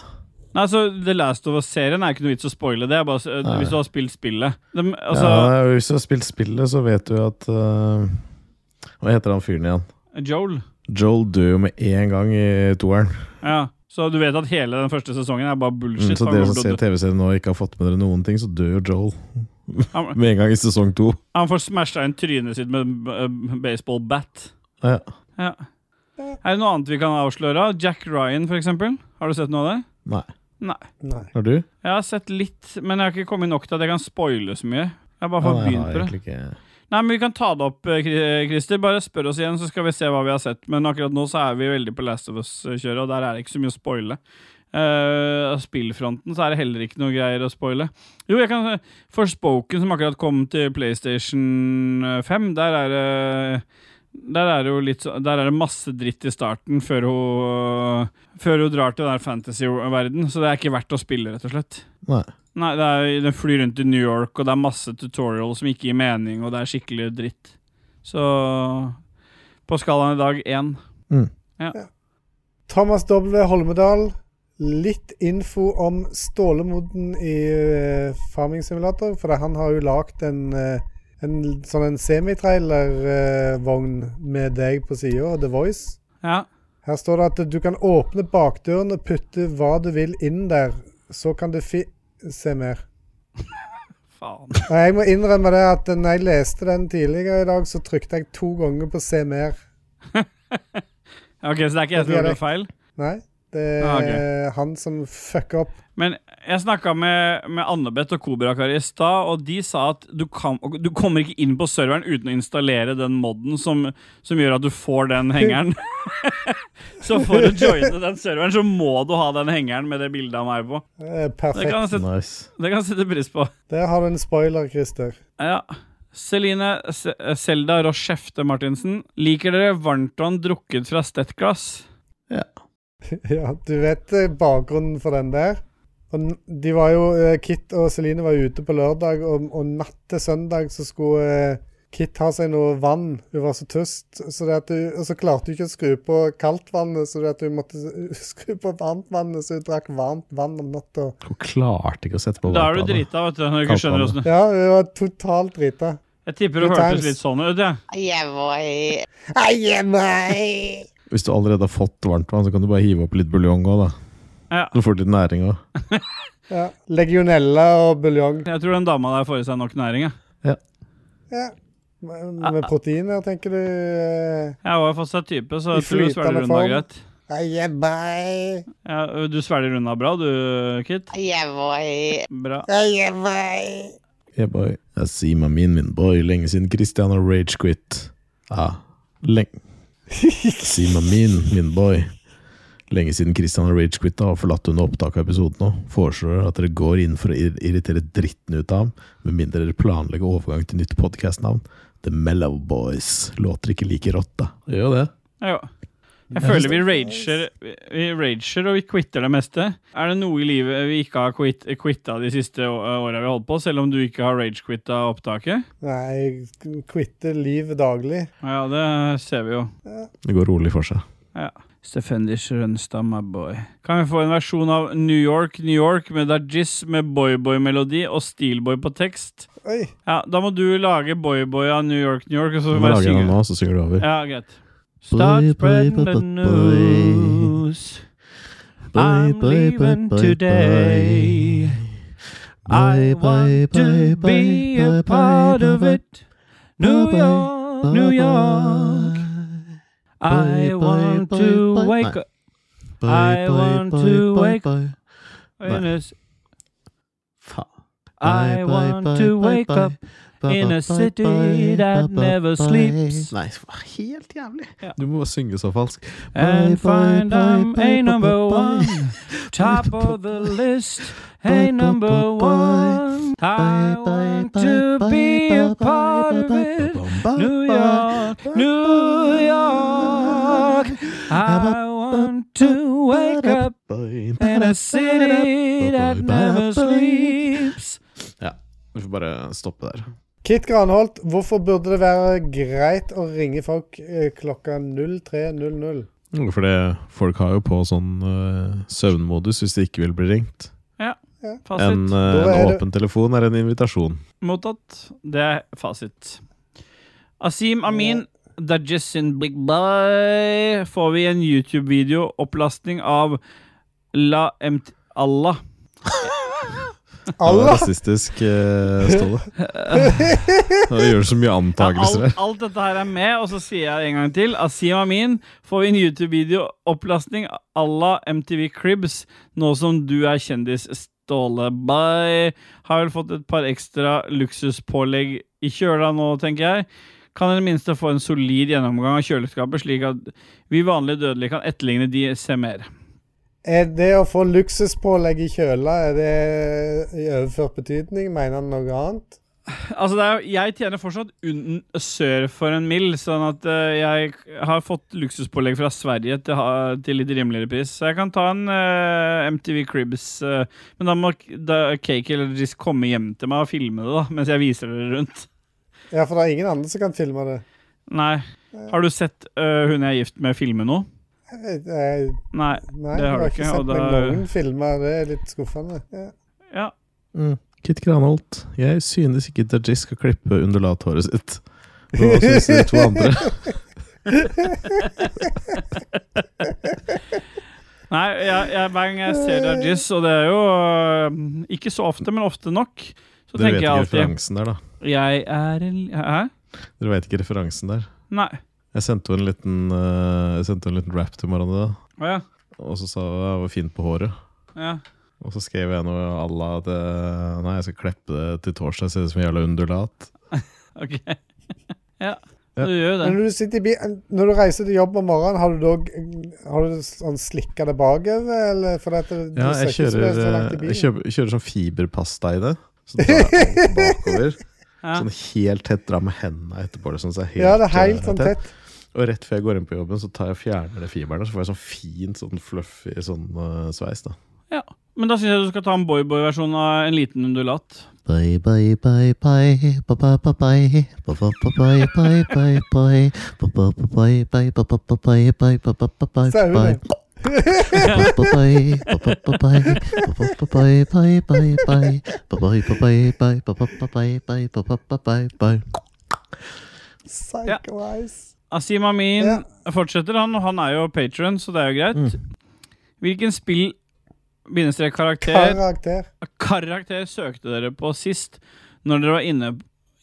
Nei, så The Last of Us-serien er ikke noe vits å spoile. Det er bare s-
Nei.
hvis du har spilt spillet. Dem- altså,
ja, hvis du har spilt spillet, så vet du at øh, Hva heter han fyren igjen?
Joel.
Joel dør jo med en gang i toeren.
Ja. Så du vet at hele den første sesongen er bare bullshit.
Mm, så
for
dere
han,
som
kommer
ser
til å
TV-serien nå og ikke har fått med dere noen ting, så dør jo Joel
dø- han,
med en gang i sesong to.
han får smasha inn trynet sitt med eh, baseball-bat.
Ja.
Ja. Er det noe annet vi kan avsløre? Jack Ryan, for eksempel. Har du sett noe av det?
Nei.
Nei.
Nei.
Har du?
Jeg har sett litt, men jeg har ikke kommet nok til at jeg kan spoile så mye. Jeg har bare fått
nei, jeg
begynt
har
på det.
egentlig ikke
Nei, men Vi kan ta det opp, eh, Kri- Christer. Bare spør oss igjen, så skal vi se hva vi har sett. Men akkurat nå så er vi veldig på Last of Us-kjøret, og der er det ikke så mye å spoile. Eh, Av spillfronten så er det heller ikke noe greier å spoile. Jo, jeg kan Forspoken, som akkurat kom til PlayStation eh, 5, der er det der er, det jo litt, så- der er det masse dritt i starten før hun, før hun drar til den der fantasy-verden, så det er ikke verdt å spille, rett og slett.
Nei.
Nei, det er, den flyr rundt i New York, og det er masse tutorial som ikke gir mening, og det er skikkelig dritt. Så på skalaen i dag én.
Thomas W. Holmedal, litt info om stålemoden i eh, Farming Simulator. For han har jo lagd en, eh, en eh, l- sånn en semitrailervogn med deg på sida, The Voice.
Ja.
Her står det at du kan åpne bakdøren og putte hva du vil inn der. Så kan du fi... Se mer.
Faen.
Nei, Jeg må innrømme det at når jeg leste den tidligere i dag, så trykte jeg to ganger på se mer.
Ok, Så det er ikke jeg som gjorde feil?
Nei, det er
Ah,
han som fucker opp.
Men jeg snakka med, med Annebeth og Kobrakar i stad, og de sa at du, kan, du kommer ikke inn på serveren uten å installere den moden som, som gjør at du får den hengeren. så for å joine den serveren, så må du ha den hengeren med det bildet av meg på.
Eh,
Det kan
Perfekt.
jeg sette,
Nice.
det kan jeg sette pris på.
Der har du en spoiler, Christer.
Ja. Celine eh, Se- Selda Rochefte Martinsen. Liker dere varmtvann drukket fra stettglass?
Ja, du vet eh, bakgrunnen for den der. Og n- de var jo, eh, Kit og Celine var ute på lørdag, og, og natt til søndag så skulle eh, Kit ha seg noe vann. Hun var så tørst, så det at hun, og så klarte hun ikke å skru på kaldtvannet, så det at hun måtte s- skru på varmtvannet, så hun drakk varmt vann om natta.
Hun klarte ikke å sette på
Da er du
varmtvannet.
drita, vet du. Når du ikke skjønner hvordan
Ja, hun var totalt drita.
Jeg tipper det
Good times.
hørtes litt sånn ut, jeg.
Jeg var i
Hvis du allerede har fått varmtvann, så kan du bare hive oppi litt buljong òg, da.
Ja.
Du får litt næring òg.
Ja. Legionella og buljong.
Jeg tror den dama der får i seg nok næring. Jeg,
Ja. Med, med proteiner, tenker du? eh,
jeg var jo fått seg type, så
I
jeg tror du
flytende
svelger unna
form.
greit.
Eie meg,
Ja, du svelger unna bra, du, Kit.
Jeg var i
Bra.
eie meg.
Yeah, boy. Jeg sier meg min, min boy. Lenge siden Christian har rage-quit. Ja, Ah, leng... Si meg min, min boy. Lenge siden Christian har rage-quitta og forlatt under opptak av episoden nå. Foreslår at dere går inn for å ir- irritere dritten ut av ham, med mindre dere planlegger overgang til nytt podkastnavn. The Mellow Boys. Låter ikke like rått, da. Gjør det.
Ja, Jo. Jeg føler vi rager, vi rager og vi quitter det meste. Er det noe i livet vi ikke har quit, quitta de siste å- åra vi har holdt på, selv om du ikke har rage-quitta opptaket?
Nei, jeg quitter livet daglig.
Ja, det ser vi jo.
Det går rolig for seg.
Stefendis Rønstad, my boy. Kan vi få en versjon av New York, New York med Dajis med boyboy-melodi og Steelboy på tekst?
Oi.
Ja, Da må du lage boyboy av New York, New York, og så
Vi
bare
lager den
synge.
nå, så synger du over.
Ja, greit.
Boy,
Start
boy,
spreading
boy,
the
boy,
news. I'm leaving today. I want to be a part of it. New York, New York. I want to wake up I want to wake in a, s- I want to wake up in a city that never sleeps.
Nei, det var helt jævlig.
Ja.
Du må bare synge så falsk.
and find I'm a number one. Top of the list, hey number one. I want to be a part of it. New York, New York. I want to wake up in a city that never sleeps.
Ja, vi får bare stoppe der.
Kit Granholt, hvorfor burde det være greit å ringe folk eh, klokka 03.00?
For det, folk har jo på sånn eh, søvnmodus hvis de ikke vil bli ringt. En, eh,
Da
en
er det-
åpen telefon er en invitasjon.
Mottatt. Det er fasit. Asim Amin, Dajis sin Big Bye, får vi en YouTube-video-opplastning av La Emt... Allah.
Det var
Allah!
Rasistisk, eh, Ståle. Det gjør så mye
Ja,
antakelser
alt,
her.
alt dette her er med, og så sier jeg det en gang til. Asim Amin, får vi en YouTube-video-opplastning Allah MTV Cribs, nå som du er kjendis. Ståle Bye. Har vel fått et par ekstra luksuspålegg i kjøla nå, tenker jeg. Kan i det minste få en solid gjennomgang av kjøleskapet, slik at vi vanlige dødelige kan etterligne de ser mer.
Er det å få luksuspålegg i kjøla, er det i overført betydning? Mener han noe annet?
Altså, det er, jo- jeg tjener fortsatt un sør for en mill, sånn at eh, jeg har fått luksuspålegg fra Sverige til, ha, til litt rimeligere pris. Så jeg kan ta en eh, MTV Cribs, eh, men da må k- da Cake eller Risk komme hjem til meg og filme det, da, mens jeg viser det rundt.
Ja, for det er ingen andre som kan filme det.
Nei. Har du sett eh, hun jeg er gift med, filme noe?
Eh, eh,
Nei.
Nei,
Det har
jeg
du
har
ikke,
ikke sett
og
meg
da-
noen filmer. Det er litt skuffende. Ja.
Ja.
Mm.
Kit Granholt, jeg synes ikke Dajis skal klippe undulathåret sitt. Hva synes dere to andre?
Nei, jeg, jeg, hver gang jeg ser Dajis, og det er jo øh, ikke så ofte, men ofte nok,
Dere
så
vet
tenker jeg
ikke
alltid
referansen der, da.
Jeg er en Hæ?
Dere vet ikke referansen der.
Nei.
Jeg sendte jo en liten, eh, jeg sendte jo en liten rap til Marianne, da.
Å ja.
Og så sa hun at jeg var fin på håret.
ja.
Og så skrev jeg noe à la at eh, Nei, jeg skal kleppe det til torsdag, ser ut som en jævla underlat.
Ok. ja.
Ja.
Du gjør jo
Men
det.
når du, sitter i bi når du reiser til jobb om morgenen, har du dog har du sånn slikka det bakover? Eller for at det,
Ja,
det
jeg
ser ikke ut som
kjører,
det
eh,
er så langt i
jeg
bilen.
kjøper, kjører sånn fiberpasta i det. Så tar jeg alt bakover.
Ja.
Sånn helt tett, drar med hendene etterpå. Det, sånn, så er helt,
Ja, det er
eh,
helt sånn tett.
Og rett før jeg går inn på jobben, så tar jeg og fjerner det fiberen. Og så får jeg sånn fin, sånn fluffy sånn eh, sveis, da.
Men da syns jeg du skal ta en boyboy-versjon av en liten undulat.
Bye, bye, bye, bye, ba, ba, ba, bye. Ba, ba, ba, bye, bye, bye, bye. Ba, ba, ba, bye, bye, ba, ba, ba, bye, bye, ba, ba, ba, bye,
Ser du
bye.
det?
Ba, ba, bye, ba, ba, ba, bye. Ba, ba, ba, bye, bye, bye, bye. Ba, bye, ba, bye, bye, ba, ba, ba, bye, bye, ba, ba, ba, bye, bye.
Psycho-eyes.
Asim Amin
Ja.
fortsetter, han, og han er jo patron, så det er jo greit. Hvilken spill Bindestrek karakter
Karakter.
Karakter søkte dere på sist når dere var inne,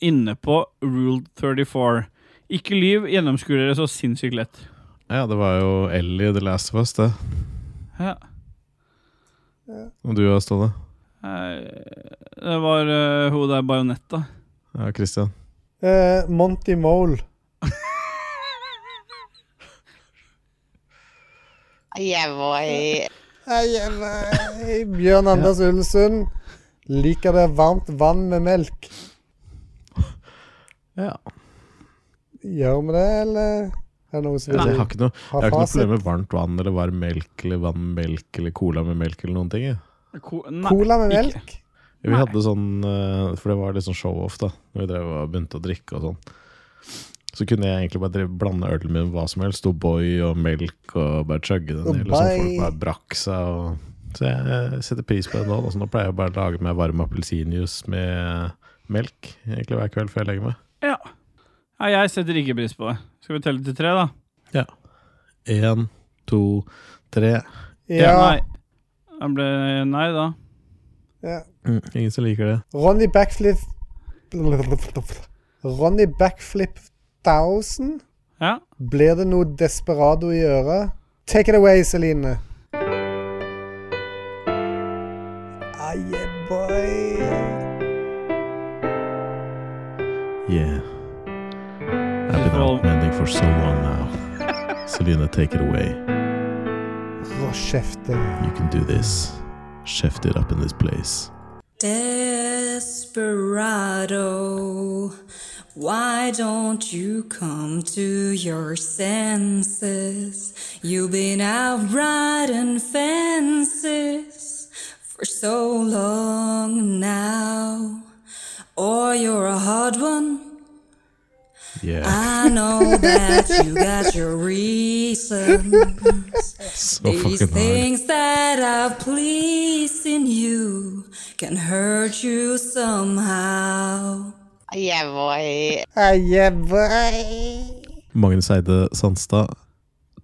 inne på Rule 34. Ikke lyv, gjennomskuer dere så sinnssykt lett.
Ja, det var jo Ellie i The Last of Us, det.
Ja.
Og du, Ståle?
Eh, Det var uh, hun der bajonetta.
Ja, Christian.
Eh, Monty Mole.
Jeg var i
Nei, nei. Bjørn Anders Ullesund. Liker det varmt vann med melk.
Ja.
Gjør vi det, eller? Er det noen som
Ja, Altså, Jeg
vil
har ikke noe, jeg
ha
har ikke noe
fasit?
problem med varmt vann eller varm melk eller vann med melk eller cola med melk eller noen ting. Jeg.
Ko nei,
Cola med
ikke.
melk?
Vi hadde sånn, eh, for det var litt sånn show-off da Når vi drev og begynte å drikke og sånn Så kunne jeg egentlig bare drive, blande øl med hva som helst Stod boy og melk og bare chugge den
Og
ned Liksom
boy.
folk bare brakk seg og, Så jeg eh, setter pris på det nå da. Så nå pleier jeg bare å lage meg varm appelsinjuice med melk Egentlig hver kveld før jeg legger meg
Ja. Nei, jeg setter ikke pris på det. Skal vi telle til tre, da?
En, to, tre
Ja.
Nei. Jeg ble nei, da.
ja.
mm, Ingen som liker det
Ronny Backflip Ronny Backflip 1000.
Ja.
Blir det noe desperado i øret? Take it away, Celine. Ah, yeah, boy.
Yeah I've been out mending for so long now Celine, take it away
Rå kjefte.
You can do this. Chef it up in this place.
Desperado, why don't you come to your senses? You've been out riding fences for so long now. Or you're a hard one.
Yeah.
I know that you got your reasons.
So
These
fucking hard.
things that are pleasing you can hurt you somehow.
Jeg var i
Ah, yeah, boy.
Magnus Eide Sandstad.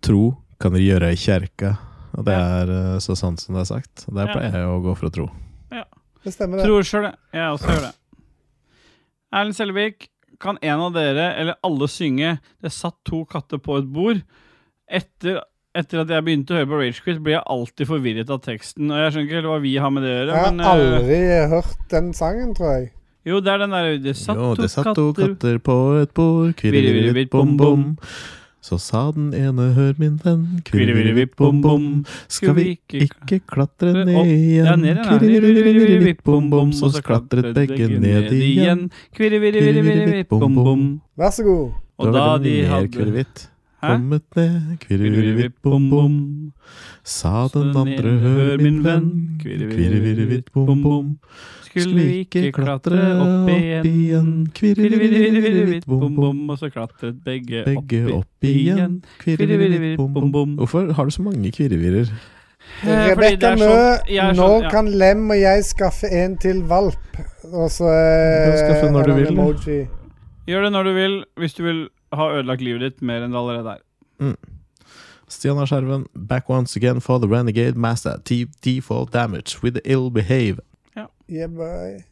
Tro kan dere gjøre i kjerka. Og det er eh, så sant som det er sagt. Og Der
Ja.
pleier jeg å gå for å tro.
Det stemmer, det.
Tror sjøl det. Jeg også gjør det. Erlend Selvik, kan en av dere eller alle synge 'Det satt to katter på et bord'? Etter, etter at jeg begynte å høre på Ragequit, blir jeg alltid forvirret av teksten. Og jeg skjønner ikke helt hva vi har med det å
Jeg
gjøre,
har
men eh,
aldri hørt den sangen, tror jeg.
Jo, det er den der Det satt
Jo, det satt to
to katter
katter på et bord, kvirrevirrevitt bom bom. Så sa den ene, hør min venn, kvirrevirrevitt bom bom. Skal vi ikke klatre
Opp.
ned
Ja,
igjen?
ned
Kvirrevirrevitt bom bom. Så klatret begge ned igjen.
Kvirrevirrevirrevitt bom bom.
Vær så god.
Og da de hadde
kurvitt.
Hæ?
Kommet ned,
Kvirrevirrevitt
kvirrevirrevitt,
bom bom.
Sa
Så
den andre,
nede,
hør min venn, kvirrevirrevitt, bom, bom.
Skulle vi ikke klatre opp igjen? Kvirrevirrevirrevitt
Kvirrevirrevirrevitt,
bom
bom, bom.
bom. Og så klatret begge,
Begge
opp,
opp igjen, kvirrevirrevirrevitt, bom, bom.
bom.
Hvorfor har du så mange kvirrevirer?
Eh, fordi det
Rebekka
er
Mø,
sånn- jeg er
nå
sånn- ja.
kan Lem og jeg skaffe en til valp. Og så
Du kan
eh,
skaffe når
er
du
det en
vil, du.
emoji.
Gjør det når du vil, hvis du vil ha ødelagt livet ditt mer enn det allerede er.
Stian Skjerven, back once again for the Renegade Master. T default damage with ill behave.
Yeah, boy.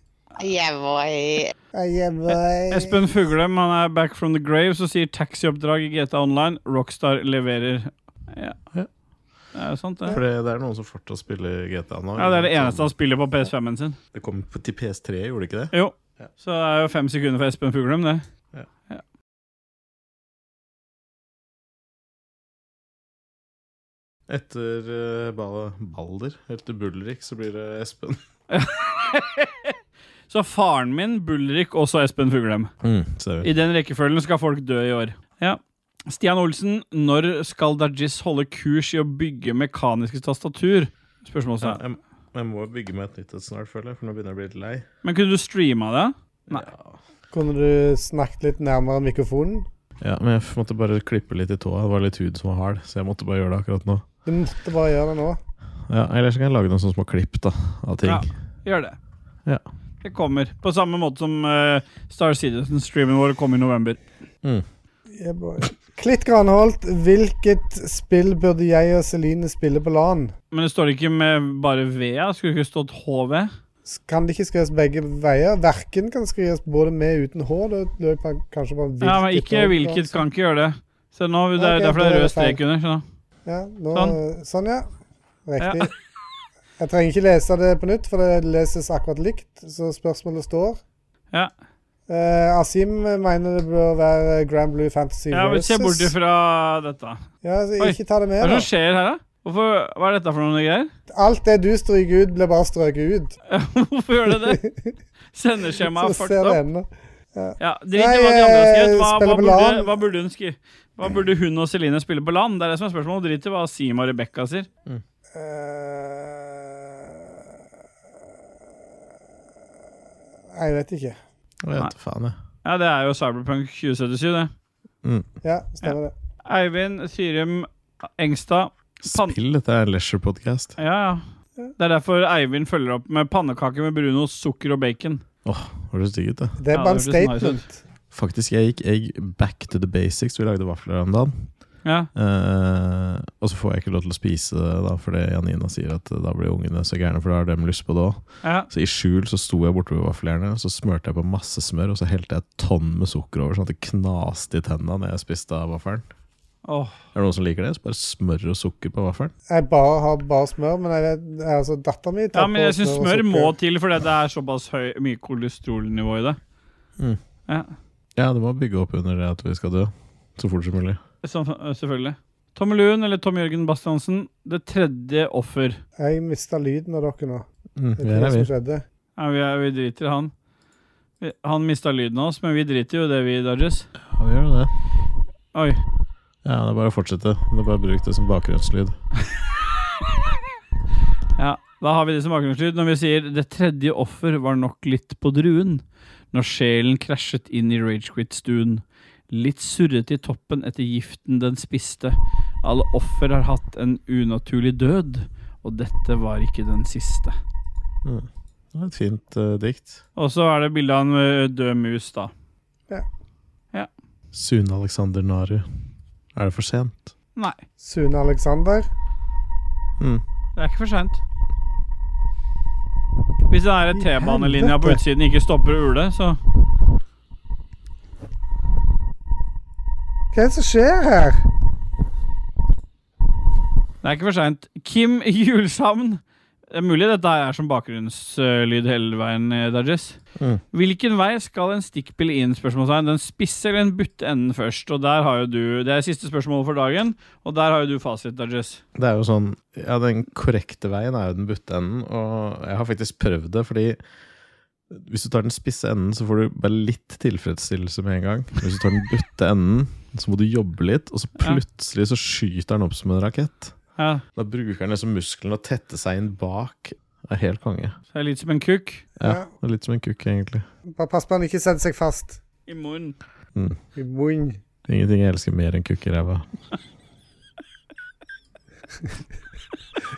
Yeah, boy.
Ah, yeah, boy.
Eh, Espen Fuglem han er back from the grave og sier taxioppdrag i GTA Online. Rockstar leverer. Ja.
Ja.
Det er jo sant, det.
For det, det er noen som fortsatt spiller GTA nå.
Ja, Det er det eneste han spiller på PS5-en sin.
Det kom på- til PS3, gjorde det ikke det?
Jo.
Ja.
Så det er jo fem sekunder for Espen Fuglem, det.
Etter eh, Bal- Balder, etter Bulrik, så blir det Espen.
Så faren min, Bulrik, og så Espen Fuglem.
Mm, ser vi.
I den rekkefølgen skal folk dø i år. Ja. Stian Olsen, når skal Dajis holde kurs i å bygge mekaniske tastatur?
Ja,
Spørsmålstegn.
jeg, jeg må bygge meg et nytt et snart, føler jeg, for nå begynner jeg å bli litt lei.
Men kunne du streama det?
Kunne du snakket litt nærmere mikrofonen?
Ja, men jeg f- måtte bare klippe litt i tåa. Det var litt hud som var hard, så jeg måtte bare gjøre det akkurat nå.
Du måtte bare gjøre det nå.
Ja, Eller så kan jeg lage noen sånne små klipp da, av ting.
Ja, gjør det.
Ja.
Det kommer. På samme måte som eh, Star Citizen-streamen vår kom i november.
Yeah, boy. Klitt Granholt, hvilket spill burde jeg og Celine spille på LAN?
Men det står ikke med bare VA. Skulle ikke stått HV.
S- Kan det ikke skrives begge veier? Verken kan skrives både med og uten H. Da lurer jeg på- kanskje på hvilket altså.
Ja, men ikke
og-
hvilket kan ikke gjøre det. Så nå, det er
Ok,
Derfor
da
det
er
er rød
det
strek
feil.
under. skjønner du?
Ja, nå,
Sånn.
sånn. ja. Riktig. Jeg trenger ikke lese det på nytt, for det leses akkurat likt, så spørsmålet står.
Ja.
Eh, Asim mener det bør være Grand Blue Fantasy
Ja, men Se bort ifra dette.
Ja, altså,
Oi.
ikke ta det
Hva
med,
er det som
da.
skjer her, da? Hvorfor, hva er dette for noen greier?
Alt det du stryker ut, blir bare strøket ut.
Hvorfor gjør det det? Sendeskjemaet er
så
fucked
ser det
up.
ennå.
Ja, drit i hva de andre har skrevet. Hva, hva,
Spille på
burde,
LAN.
hva, burde hun skri- hva burde hun og Celine spille på LAN? Det er det som er spørsmålet. Drit i hva Sim og Rebekka sier.
Eh, jeg vet ikke.
Jeg vet faen, jeg.
Ja, det er jo Cyberpunk 2077, det.
Ja, stemmer det.
Eivind Syrim Engstad. Pan-
Spill, dette er en leisure-podkast.
Ja, ja. Det er derfor Eivind følger opp med pannekaker med brunost, sukker og bacon.
Høres digg ut, det.
Det er
Ja,
bare en
det høres nice ut.
statement.
Faktisk, jeg gikk egg back to the basics. Vi lagde vafler her om dagen.
Ja,
Eh, og så får jeg ikke lov til å spise det, da, fordi Janina sier at eh, da blir ungene så gærne, for da har dem lyst på det òg.
ja.
Så i skjul så sto jeg borte ved vaffeljernet, så smørte jeg på masse smør, og så helte jeg et tonn med sukker over, sånn at det knaste i tenna når jeg spiste av vaffelen.
Åh.
Er det noen som liker det? Så bare smør og sukker på vaffelen.
Jeg bare har bare smør, men jeg vet, altså, dattera mi
ja
tar
men
på
jeg syns
og
smør
sukker.
må til, fordi det er såpass høy, mye kolesterolnivå i det.
Mm.
Ja,
Ja, det må bygge opp under det at vi skal dø. Så fort som mulig.
så, selvfølgelig. Tommy Lund eller Tom Jørgen Bastiansen, det tredje offer.
Jeg mista lyden av dere nå.
Mm,
Det
vi
er det
er
som
her, vi.
skjedde.
Ja, vi, er, vi driter i han. Vi, han mista lyden av oss, men vi driter jo i det, vi, Dodges.
Ja, vi gjør jo det.
Oi.
Ja, det er bare å fortsette. Det er bare å bruke det som bakgrunnslyd.
Ja, da har vi det som bakgrunnslyd når vi sier 'det tredje offer var nok litt på druen' når sjelen krasjet inn i Ragequit-stuen. Litt surret i toppen etter giften den spiste. Alle offer har hatt en unaturlig død, og dette var ikke den siste.
Mm. Det er et fint eh, dikt.
Og så er det bilde av en ø, død mus, da.
Sune Alexander Naru. Er det for sent?
Nei,
Sune Alexander.
Mm.
det er ikke for seint. Hvis den der
I
T-banelinja på
helvete.
utsiden ikke stopper å ule, så
Hva er det som skjer her?
Det er ikke for seint. Kim Julshamn. Det er mulig dette her er som bakgrunnslyd hele veien, eh, Dodges.
Mm.
Hvilken vei skal en stikkpille inn? spørsmålstegn? Den spisse eller den butte enden først? Og der har jo du, Det er siste spørsmål for dagen, og der har jo du fasit, Dodges.
Det er jo sånn Ja, den korrekte veien er jo den butte enden, og jeg har faktisk prøvd det, fordi hvis du tar den spisse enden, så får du bare litt tilfredsstillelse med en gang. Hvis du tar den butte enden, så må du jobbe litt, og så
Ja.
plutselig så skyter den opp som en rakett.
Ja,
Da bruker den liksom musklene og tette seg inn bak. Det er helt konge.
så det er litt som en kukk
Ja,
Ja.
det er Litt som en kukk, egentlig.
Bare pass på han ikke setter seg fast.
i munnen.
I munnen.
Ingenting jeg elsker mer enn kukk i ræva.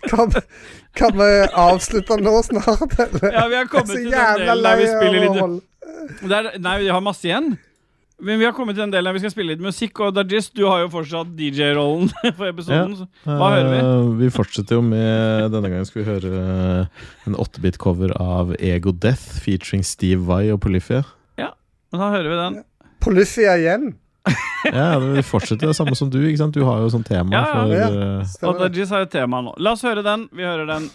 Kan, kan vi avslutte nå snart, eller?
Ja, vi har kommet til den delen der vi spiller litt Det er, Nei, vi har masse igjen. Men vi har kommet til den delen der vi skal spille litt musikk, og Dajis, du har jo fortsatt DJ-rollen for episoden. så- Hva hører vi?
Eh, vi fortsetter jo med Denne gangen skal vi høre eh, en 8-bit-cover av Ego Death featuring Steve Vai og Polyphia.
Men da hører vi den.
Polyphia igjen.
Ja, det- Vi fortsetter det samme som du. ikke sant? Du har jo sånn tema
Ja, ja.
for
Ja.
eh,
Og
Stemmer det.
Dajis har jo tema nå. La oss høre den. Vi hører den.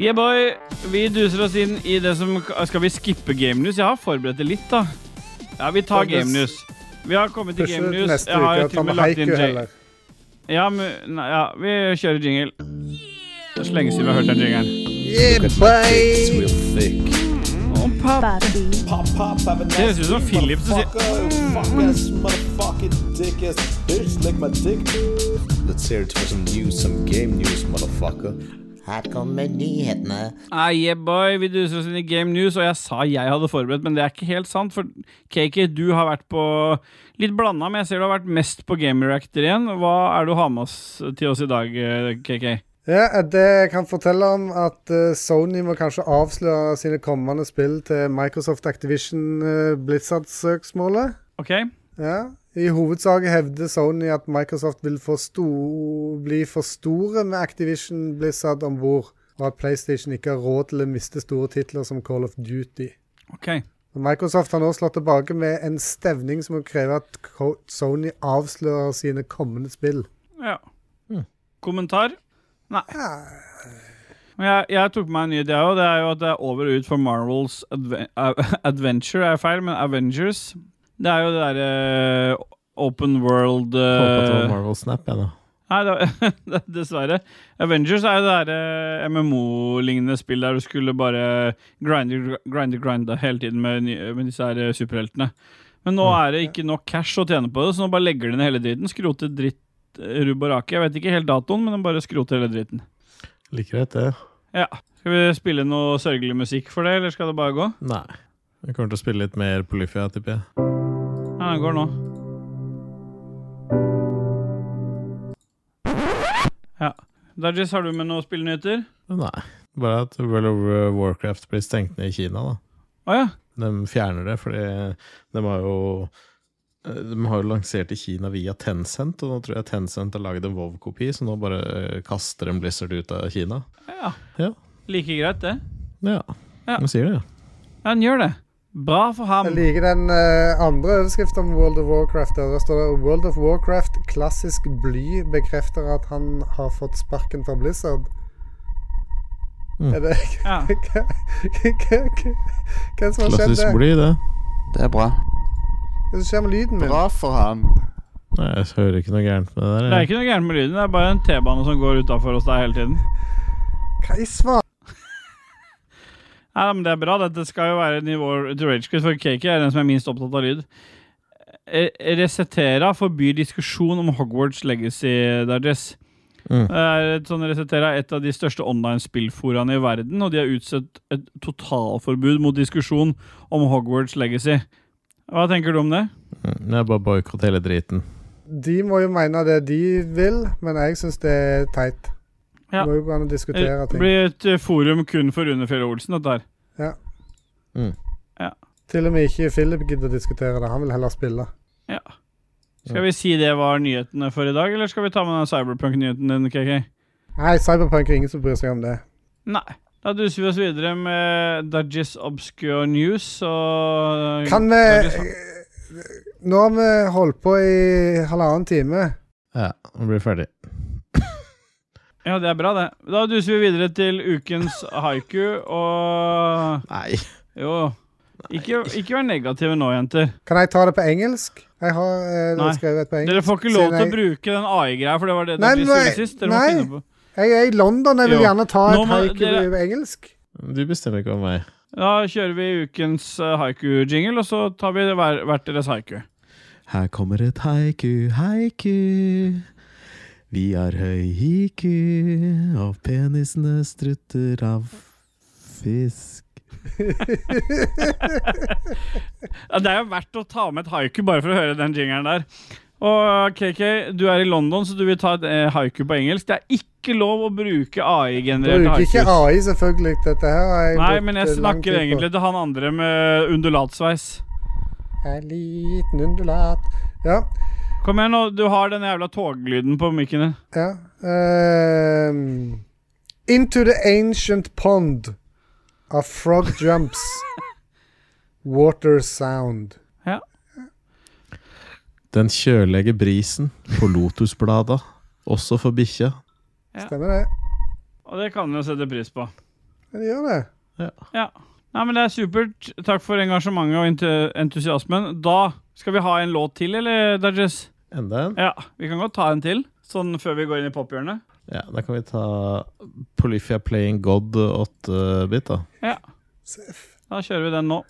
Yeah, boy. Vi duser oss inn i det som Skal vi skippe Game News? Jeg har forberedt det litt, da. Ja, vi tar Game News. Vi har kommet til Game
Pusher
News.
neste
Jeg har
uke
jo
og
til
tar
og med
med
lagt inn
haiku
J-
heller.
Ja, men, nei, ja, vi kjører jingle. Det er så lenge siden vi har hørt den jingelen.
Yeah, boy.
Oh, pap. Det høres ut som Philip som sier
Her kommer nyhetene.
ah, yeah, boy, Vi duser oss inn i Game News, og jeg sa jeg hadde forberedt, men det er ikke helt sant. For KK, du har vært på litt blanda, men jeg ser du har vært mest på Game Reactor igjen. Hva er det du har med oss til oss i dag, eh, KK?
Ja, det jeg kan fortelle om at eh, Sony må kanskje avsløre sine kommende spill til Microsoft Activision eh, Blizzard-søksmålet.
OK?
Ja. I hovedsak hevder Sony at Microsoft vil for sto- bli for store med Activision Blizzard om bord, og at PlayStation ikke har råd til å miste store titler som Call of Duty.
ok
Microsoft har nå slått tilbake med en stevning som krever at Co- Sony avslører sine kommende spill.
Ja. Kommentar? Nei. Men Jeg, jeg tok meg en ny idé òg. Det er jo at det er over og ut for Marvels adve a- Adventure er feil, men Avengers. Det er jo det derre open world
Håper at det var
eh,
Marvel Snap, jeg, da.
Nei, det, var- dessverre. Avengers er jo det eh, derre MMO-lignende spill der du skulle bare grinde, grinde, grinde hele tiden med, ny- med disse her eh, superheltene. Men nå er det ikke nok cash å tjene på det, så nå bare legger de ned hele dritten. Skroter dritt eh, rubb og rake. Jeg vet ikke helt datoen, men de bare skroter hele dritten.
Liker greit, det.
Ja. Skal vi spille noe sørgelig musikk for det, eller skal det bare gå?
Nei. Vi kommer til å spille litt mer Polyphia, tipper jeg.
Nei, den går nå. Ja. Dajis, har du med noen spillnyheter?
Nei. Bare at World of Warcraft blir stengt ned i Kina, da.
Å ja.
De fjerner det, fordi de har jo eh, de har jo lansert i Kina via Tencent, og nå tror jeg Tencent har laget en WoW-kopi, så nå bare eh, kaster de Blizzard ut av Kina.
ja.
Ja.
Like greit, det.
Ja,
Ja.
de sier det.
Ja, han gjør det. Bra for ham.
Jeg liker den eh, andre overskriften om World of Warcraft. Der Der står det World of Warcraft, klassisk bly, bekrefter at han har fått sparken fra Blizzard.
Mm.
Er det
Ja.
Hva hva- hva som har skjedd
Klassisk
der?
bly, det.
Det er bra.
Hva som skjer med lyden min?
Bra for han.
Nei, jeg hører ikke noe gærent med det
Det er
der. jeg.
ikke noe gærent med lyden, det er bare en T-bane som går utafor oss der hele tiden.
Hva i svar?
Nei, men det er bra. Dette skal jo være nivåer til Ragequit, for KK er den som er minst opptatt av lyd. Eh, Resetera forbyr diskusjon om Hogwarts legacy, Dajess.
Mm.
Det er et sånn Resetera er et av de største online spillforaene i verden, og de har utsatt et totalforbud mot diskusjon om Hogwarts legacy. Hva tenker du om det?
Mm, Jeg bare boikotter hele driten.
De må jo mene det de vil, men jeg syns det er teit.
Ja.
Det må jo gå an å diskutere
Det
ting.
blir et eh, forum kun for Rune Fjell Olsen, dette her.
Til og med ikke Philip gidder å diskutere det. Han vil heller spille.
Ja. Skal vi si det var nyhetene for i dag, eller skal vi ta med den cyberpunk-nyheten din, KK?
Nei, Cyberpunk er ingen som bryr seg om det.
Nei. Da duser vi oss videre med Dudgies Obscure News og
Kan eh, vi
Dodges-
eh, Nå har vi holdt på i halvannen time.
Ja, nå blir vi ferdig.
Ja, det er bra, det. Da duser vi videre til ukens haiku, og
Nei.
Jo. Ikke, ikke vær negative nå, jenter.
Kan jeg ta det på engelsk? Jeg har eh,
Nei.
skrevet det på engelsk.
Dere får ikke lov
siden
til å
jeg-
bruke den AI-greia, for det var det
Nei,
dere
nei,
gjorde sist. Dere må
nei.
finne på.
Jeg er i London, jeg vil
Jo.
gjerne ta
Nå
et
må
haiku
dere-
på engelsk.
Du bestemmer ikke om meg.
Da kjører vi ukens eh, haiku-jingle, og så tar vi hver, hvert deres haiku.
Her kommer et haiku, haiku. Vi har høy hiku, og penisene strutter av fisk.
Ja, det er jo verdt å ta med et haiku bare for å høre den jingeren der. Og KK, du er i London, så du vil ta et eh, haiku på engelsk. Det er ikke lov å bruke AI-genererte
Bruker ikke
haikus.
AI, selvfølgelig. Dette her har jeg
Nei,
brukt,
men
eh,
jeg
lang
snakker
tid på.
egentlig til han andre med undulatsveis.
Jeg er liten undulat. Ja.
Kom igjen nå, du har den jævla toglyden på mikken din.
ja. Ehm, into the ancient pond a frog jumps. Water sound.
Den kjølige brisen på lotusblada, også for bikkja.
Stemmer det?
Og det kan vi jo sette pris på.
Ja, det gjør det.
Ja. Nei, men det er supert. Takk for engasjementet og ente- entusiasmen. Da skal vi ha en låt til, eller, Dodges?
Enda en.
Ja, vi kan godt ta en til, sånn før vi går inn i pophjørnet.
Ja, Da kan vi ta Polyphia Playing God 8-bit, da.
Seff.
Da kjører vi den nå.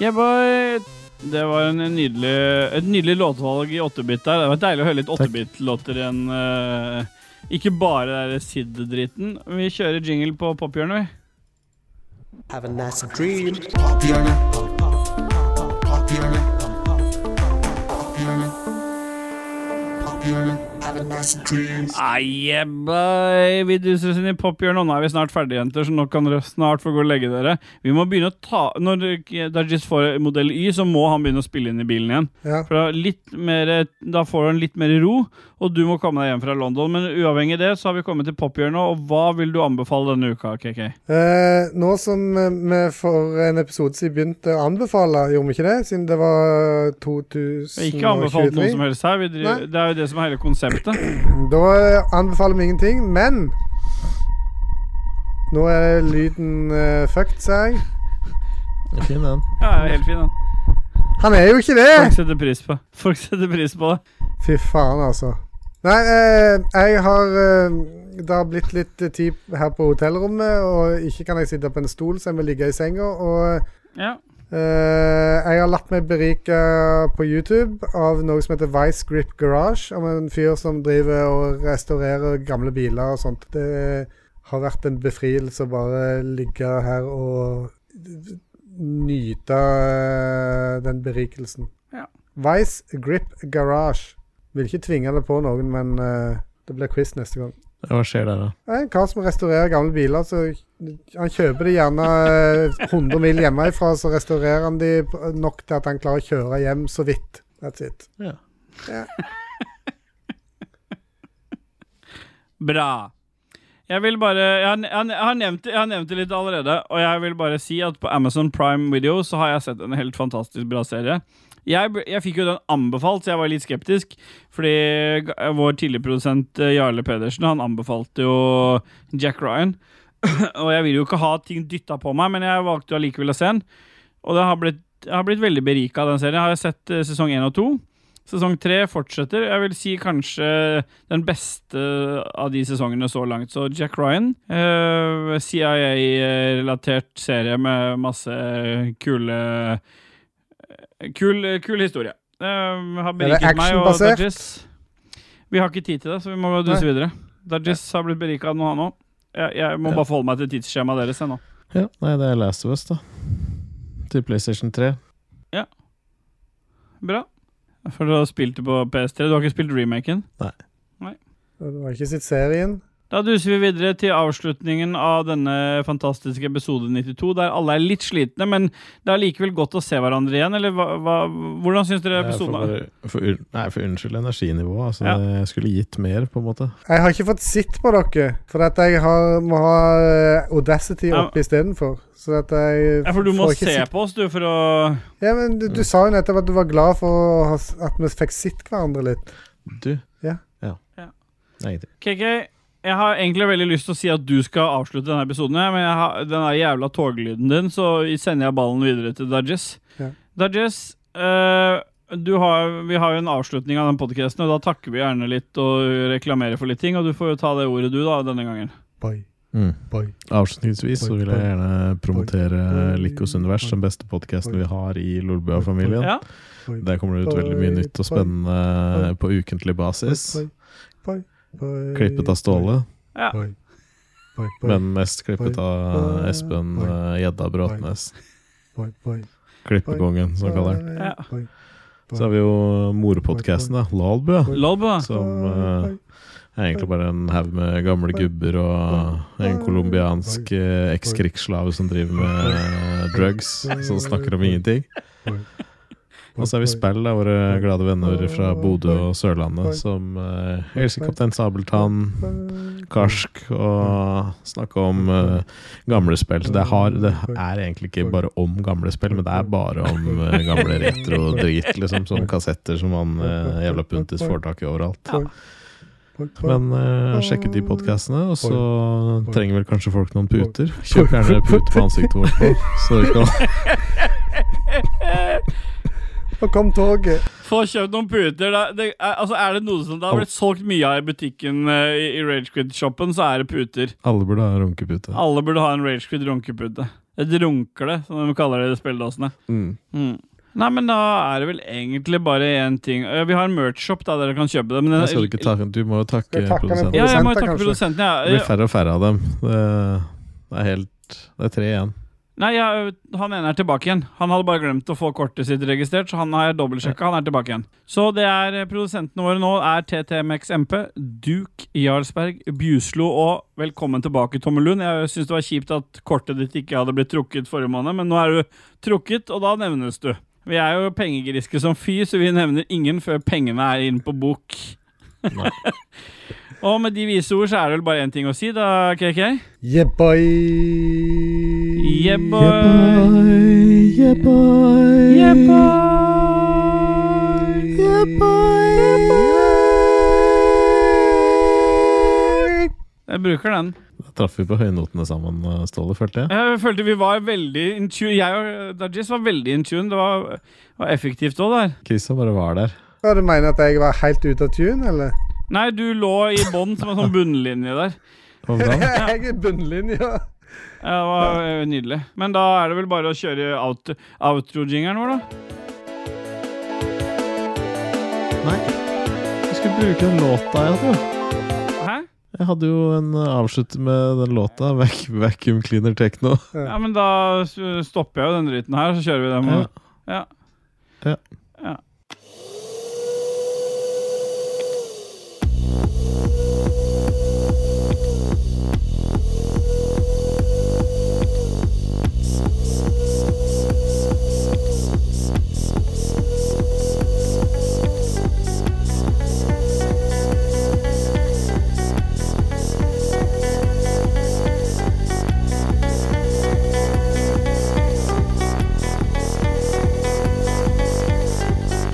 Yeah, boy. Det var en nydelig, et nydelig låtvalg i 8-bit der. Det var deilig å høre litt 8-bit-låter igjen. eh, ikke bare den SID-driten. Vi kjører jingle på pophjørnet, vi. Ah, yeah, boy. Vi duser oss inn i pophjørnet, og nå er vi snart ferdige, jenter, så nå kan dere snart få gå og legge dere. Vi må begynne å ta Når eh, Dajis får modell Y, så må han begynne å spille inn i bilen igjen.
Ja.
For da, litt mer, da får han litt mer ro, og du må komme deg hjem fra London. Men uavhengig av det, så har vi kommet til pophjørnet, og hva vil du anbefale denne uka, KK?
Eh, nå som eh, vi for en episode siden begynte å anbefale, gjorde vi ikke det? Siden det var
Vi har ikke anbefalt noe
2023.
som helst her. Vi driver,
Nei.
det er jo det som er hele konseptet.
Da eh, anbefaler vi ingenting, men Nå er lyden eh, fucked, sa jeg.
Det er Fin, den.
Ja, det er helt fin, da.
Han er jo ikke
Folk
det!
setter pris på Folk setter pris på det.
Fy faen, altså. Nei, eh, jeg har eh, Det har blitt litt eh, tid her på hotellrommet, og ikke kan jeg sitte på en stol, så jeg må ligge i senga. Og
Ja.
Eh, jeg har latt meg berike på YouTube av noe som heter Vice Grip Garage. Om en fyr som driver og restaurerer gamle biler og sånt. Det har vært en befrielse å bare ligge her og nyte eh, den berikelsen.
Ja.
Vice Grip Garage. Vil ikke tvinge det på noen, men eh, det blir quiz neste gang.
Hva skjer der, da?
Det er en kar som restaurerer gamle biler. Så han kjøper de gjerne eh, 100 mil hjemmefra, så restaurerer han de p- nok til at han klarer å kjøre hjem så vidt. That's it.
Bra. Jeg vil bare Jeg har, jeg har- jeg har, nevnt, det- jeg har nevnt det litt allerede, og jeg vil bare si at på Amazon Prime Video så har jeg sett en helt fantastisk bra serie. Jeg, b- jeg fikk jo den anbefalt, så jeg var litt skeptisk. Fordi g- vår tidligere produsent eh, Jarle Pedersen Han anbefalte jo Jack Ryan. og jeg vil jo ikke ha ting dytta på meg, men jeg valgte jo allikevel å se den. Og det har blitt, jeg har blitt veldig berika av den serien. Jeg har sett eh, sesong én og to. Sesong tre fortsetter. Jeg vil si kanskje den beste eh, av de sesongene så langt. Så Jack Ryan, eh, CIA-relatert serie med masse kule eh, Kul, kul historie. Eh, har
Er det
beriket meg og
actionbasert?
Dodges. Vi har ikke tid til det, så vi må duse videre. Dodges har blitt berika av noe annet òg. Jeg, jeg må
Ja.
bare forholde meg til tidsskjemaet deres. Jeg, nå.
Ja, nei, det er Last of Us, da. Til PlayStation 3.
Bra. For du har spilt det på PS3. Du har ikke spilt remaken.
Du har ikke sett serien?
Da duser vi videre til avslutningen av denne fantastiske episode 92, der alle er litt slitne, men det er likevel godt å se hverandre igjen. Eller hva, hva, hvordan syns dere
Jeg får
episoden var?
bare- for un- Nei, for unnskyld energinivået. Altså,
Ja.
det- Jeg skulle gitt mer, på en måte.
Jeg har ikke fått sett på dere, for at jeg har, må ha eh, Audacity
Ja.
oppe istedenfor. Så at jeg
Ja, for du må
får ikke
se
sett-
på oss, du, for å
Ja, men du, du sa jo nettopp at du var glad for å ha s- at vi fikk sett hverandre litt.
Du?
Ja.
Ja.
Ja.
Nei, ingenting.
KK, jeg har egentlig veldig lyst til å si at du skal avslutte denne episoden, jeg, men jeg har, den der jævla toglyden din, så sender jeg ballen videre til Dodges.
Ja.
Dodges, eh, du har, vi har jo en avslutning av den podcasten, og da takker vi gjerne litt og reklamerer for litt ting, og du får jo ta det ordet du, da, denne gangen.
Boy,
Mm.
boy.
Avslutningsvis så
Boy,
vil jeg
boy.
gjerne promotere
Boy,
Likos univers,
boy,
den beste podkasten
boy.
vi har i Lolbua-familien.
Ja.
Boy,
Der kommer det ut
Boy,
veldig mye nytt og
boy,
spennende på ukentlig basis.
boy, boy, boy,
Klippet av Ståle,
Ja.
Boy, boy, boy,
men mest klippet
boy,
av
boy,
Espen
boy,
eh, Gjedda Bråtnes.
boy, boy,
Klippekongen, som han kaller den.
boy,
Ja.
boy,
Så har vi jo morpodkasten, da. Lolbua.
Lolba.
Som
boy,
eh, er egentlig bare en haug med gamle gubber og en colombiansk eh, ekskrigsslave som driver med eh, drugs, som snakker om ingenting.
boy,
Og så er vi spill, da, våre glade venner fra Bodø og Sørlandet, som eh, elsker Kaptein Sabeltann,
boy,
Karsk, og snakker om eh, gamle spill. Så det, har, det er egentlig ikke bare om gamle spill, men det er bare om eh, gamle retro-drit, liksom, som kassetter som han eh, jævla Puntis får tak i overalt.
boy, boy.
Men eh, sjekk ut de podkastene, og så trenger vel kanskje folk noen puter. Kjøp gjerne pute på ansiktet vårt nå, så vi kan
Og kom toget.
Få kjøpt noen puter. Da. Det, er, altså, er det noe som det har blitt solgt mye av i butikken eh, i, i Ragequid-shoppen, så er det puter.
Alle burde ha runkepute.
Alle burde ha en Ragequid runkepute. Et runkle, som de kaller det i spilledåsene.
Mm.
Mm. Nei, men da er det vel egentlig bare én ting. Eh, Vi har en merch-shop da dere kan kjøpe det. Men den,
Jeg skal ikke ta, du må jo takke
Skal jeg takke med
produsenten.
ja, jeg må
Produsenter,
jo takke
kanskje.
produsenten.
Det blir
Ja.
færre og færre av dem. Det, det er helt Det er tre igjen.
Nei, jeg, han ene er tilbake igjen. Han hadde bare glemt å få kortet sitt registrert, så han har jeg dobbeltsjekka. Han er tilbake igjen. Så det er eh, produsentene våre nå er TTMX MP, Duke Jarlsberg, Bjuslo og velkommen tilbake, Tommel Lund. Jeg syns det var kjipt at kortet ditt ikke hadde blitt trukket forrige måned, men nå er du trukket, og da nevnes du. Vi er jo pengegriske som fy, så vi nevner ingen før pengene er inne på bok. og med de vise ord så er det vel bare én ting å si, da, KK.
Yeah, boy.
Yeah, boy.
Yeah, boy.
Yeah,
Yeah, boy.
Jeg bruker den.
Da traff vi på høynotene sammen, Ståle, følte jeg.
Jeg følte vi var veldig in tune. Jeg og Dajis var veldig in tune. Det var, var effektivt òg der.
Krisa bare var der.
Ja, Du mener at jeg var helt ute av tune, eller?
Nei, du lå i bånn som en sånn bunnlinje der.
Hva var det?
Jeg er bunnlinja.
Ja, Det var eh, nydelig. Men da er det vel bare å kjøre out, outro-jingeren vår, da.
Nei, jeg skulle bruke den låta, jeg, tror.
Hæ?
Jeg hadde jo en eh, avslutt med den låta, Vac Vacuum Cleaner Techno.
Ja, men da s- stopper jeg jo den driten her, så kjører vi den.
Ja.
og- Ja.
Ja.
ja.
Thank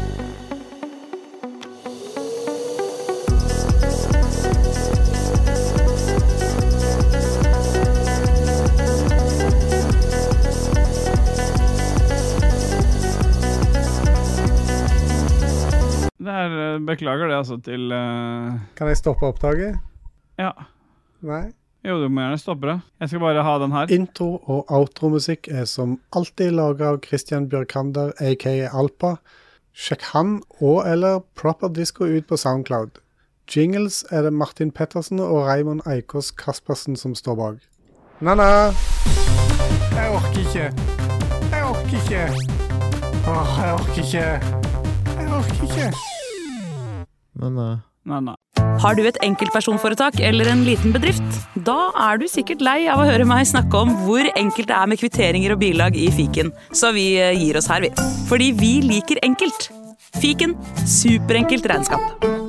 eh, beklager det, altså, til eh,
Kan jeg stoppe opptaket?
Ja.
Nei?
Jo, du må gjerne stoppe det. Jeg skal bare ha den her.
Intro- og outromusikk er som alltid laga av Christian Bjørkander, aka Alpa. Sjekk han og eller Proper Disco ut på Soundcloud. Jingles er det Martin Pettersen og Raymond Eikås Kaspersen som står bak. Na-na!
Jeg orker ikke. Jeg orker ikke. Åh, jeg orker ikke. Jeg orker ikke.
Men eh,
Nei, nei.
Har du et enkeltpersonforetak eller en liten bedrift? Da er du sikkert lei av å høre meg snakke om hvor enkelt det er med kvitteringer og bilag i fiken, så vi eh, gir oss her, vi. Fordi vi liker enkelt. Fiken superenkelt regnskap.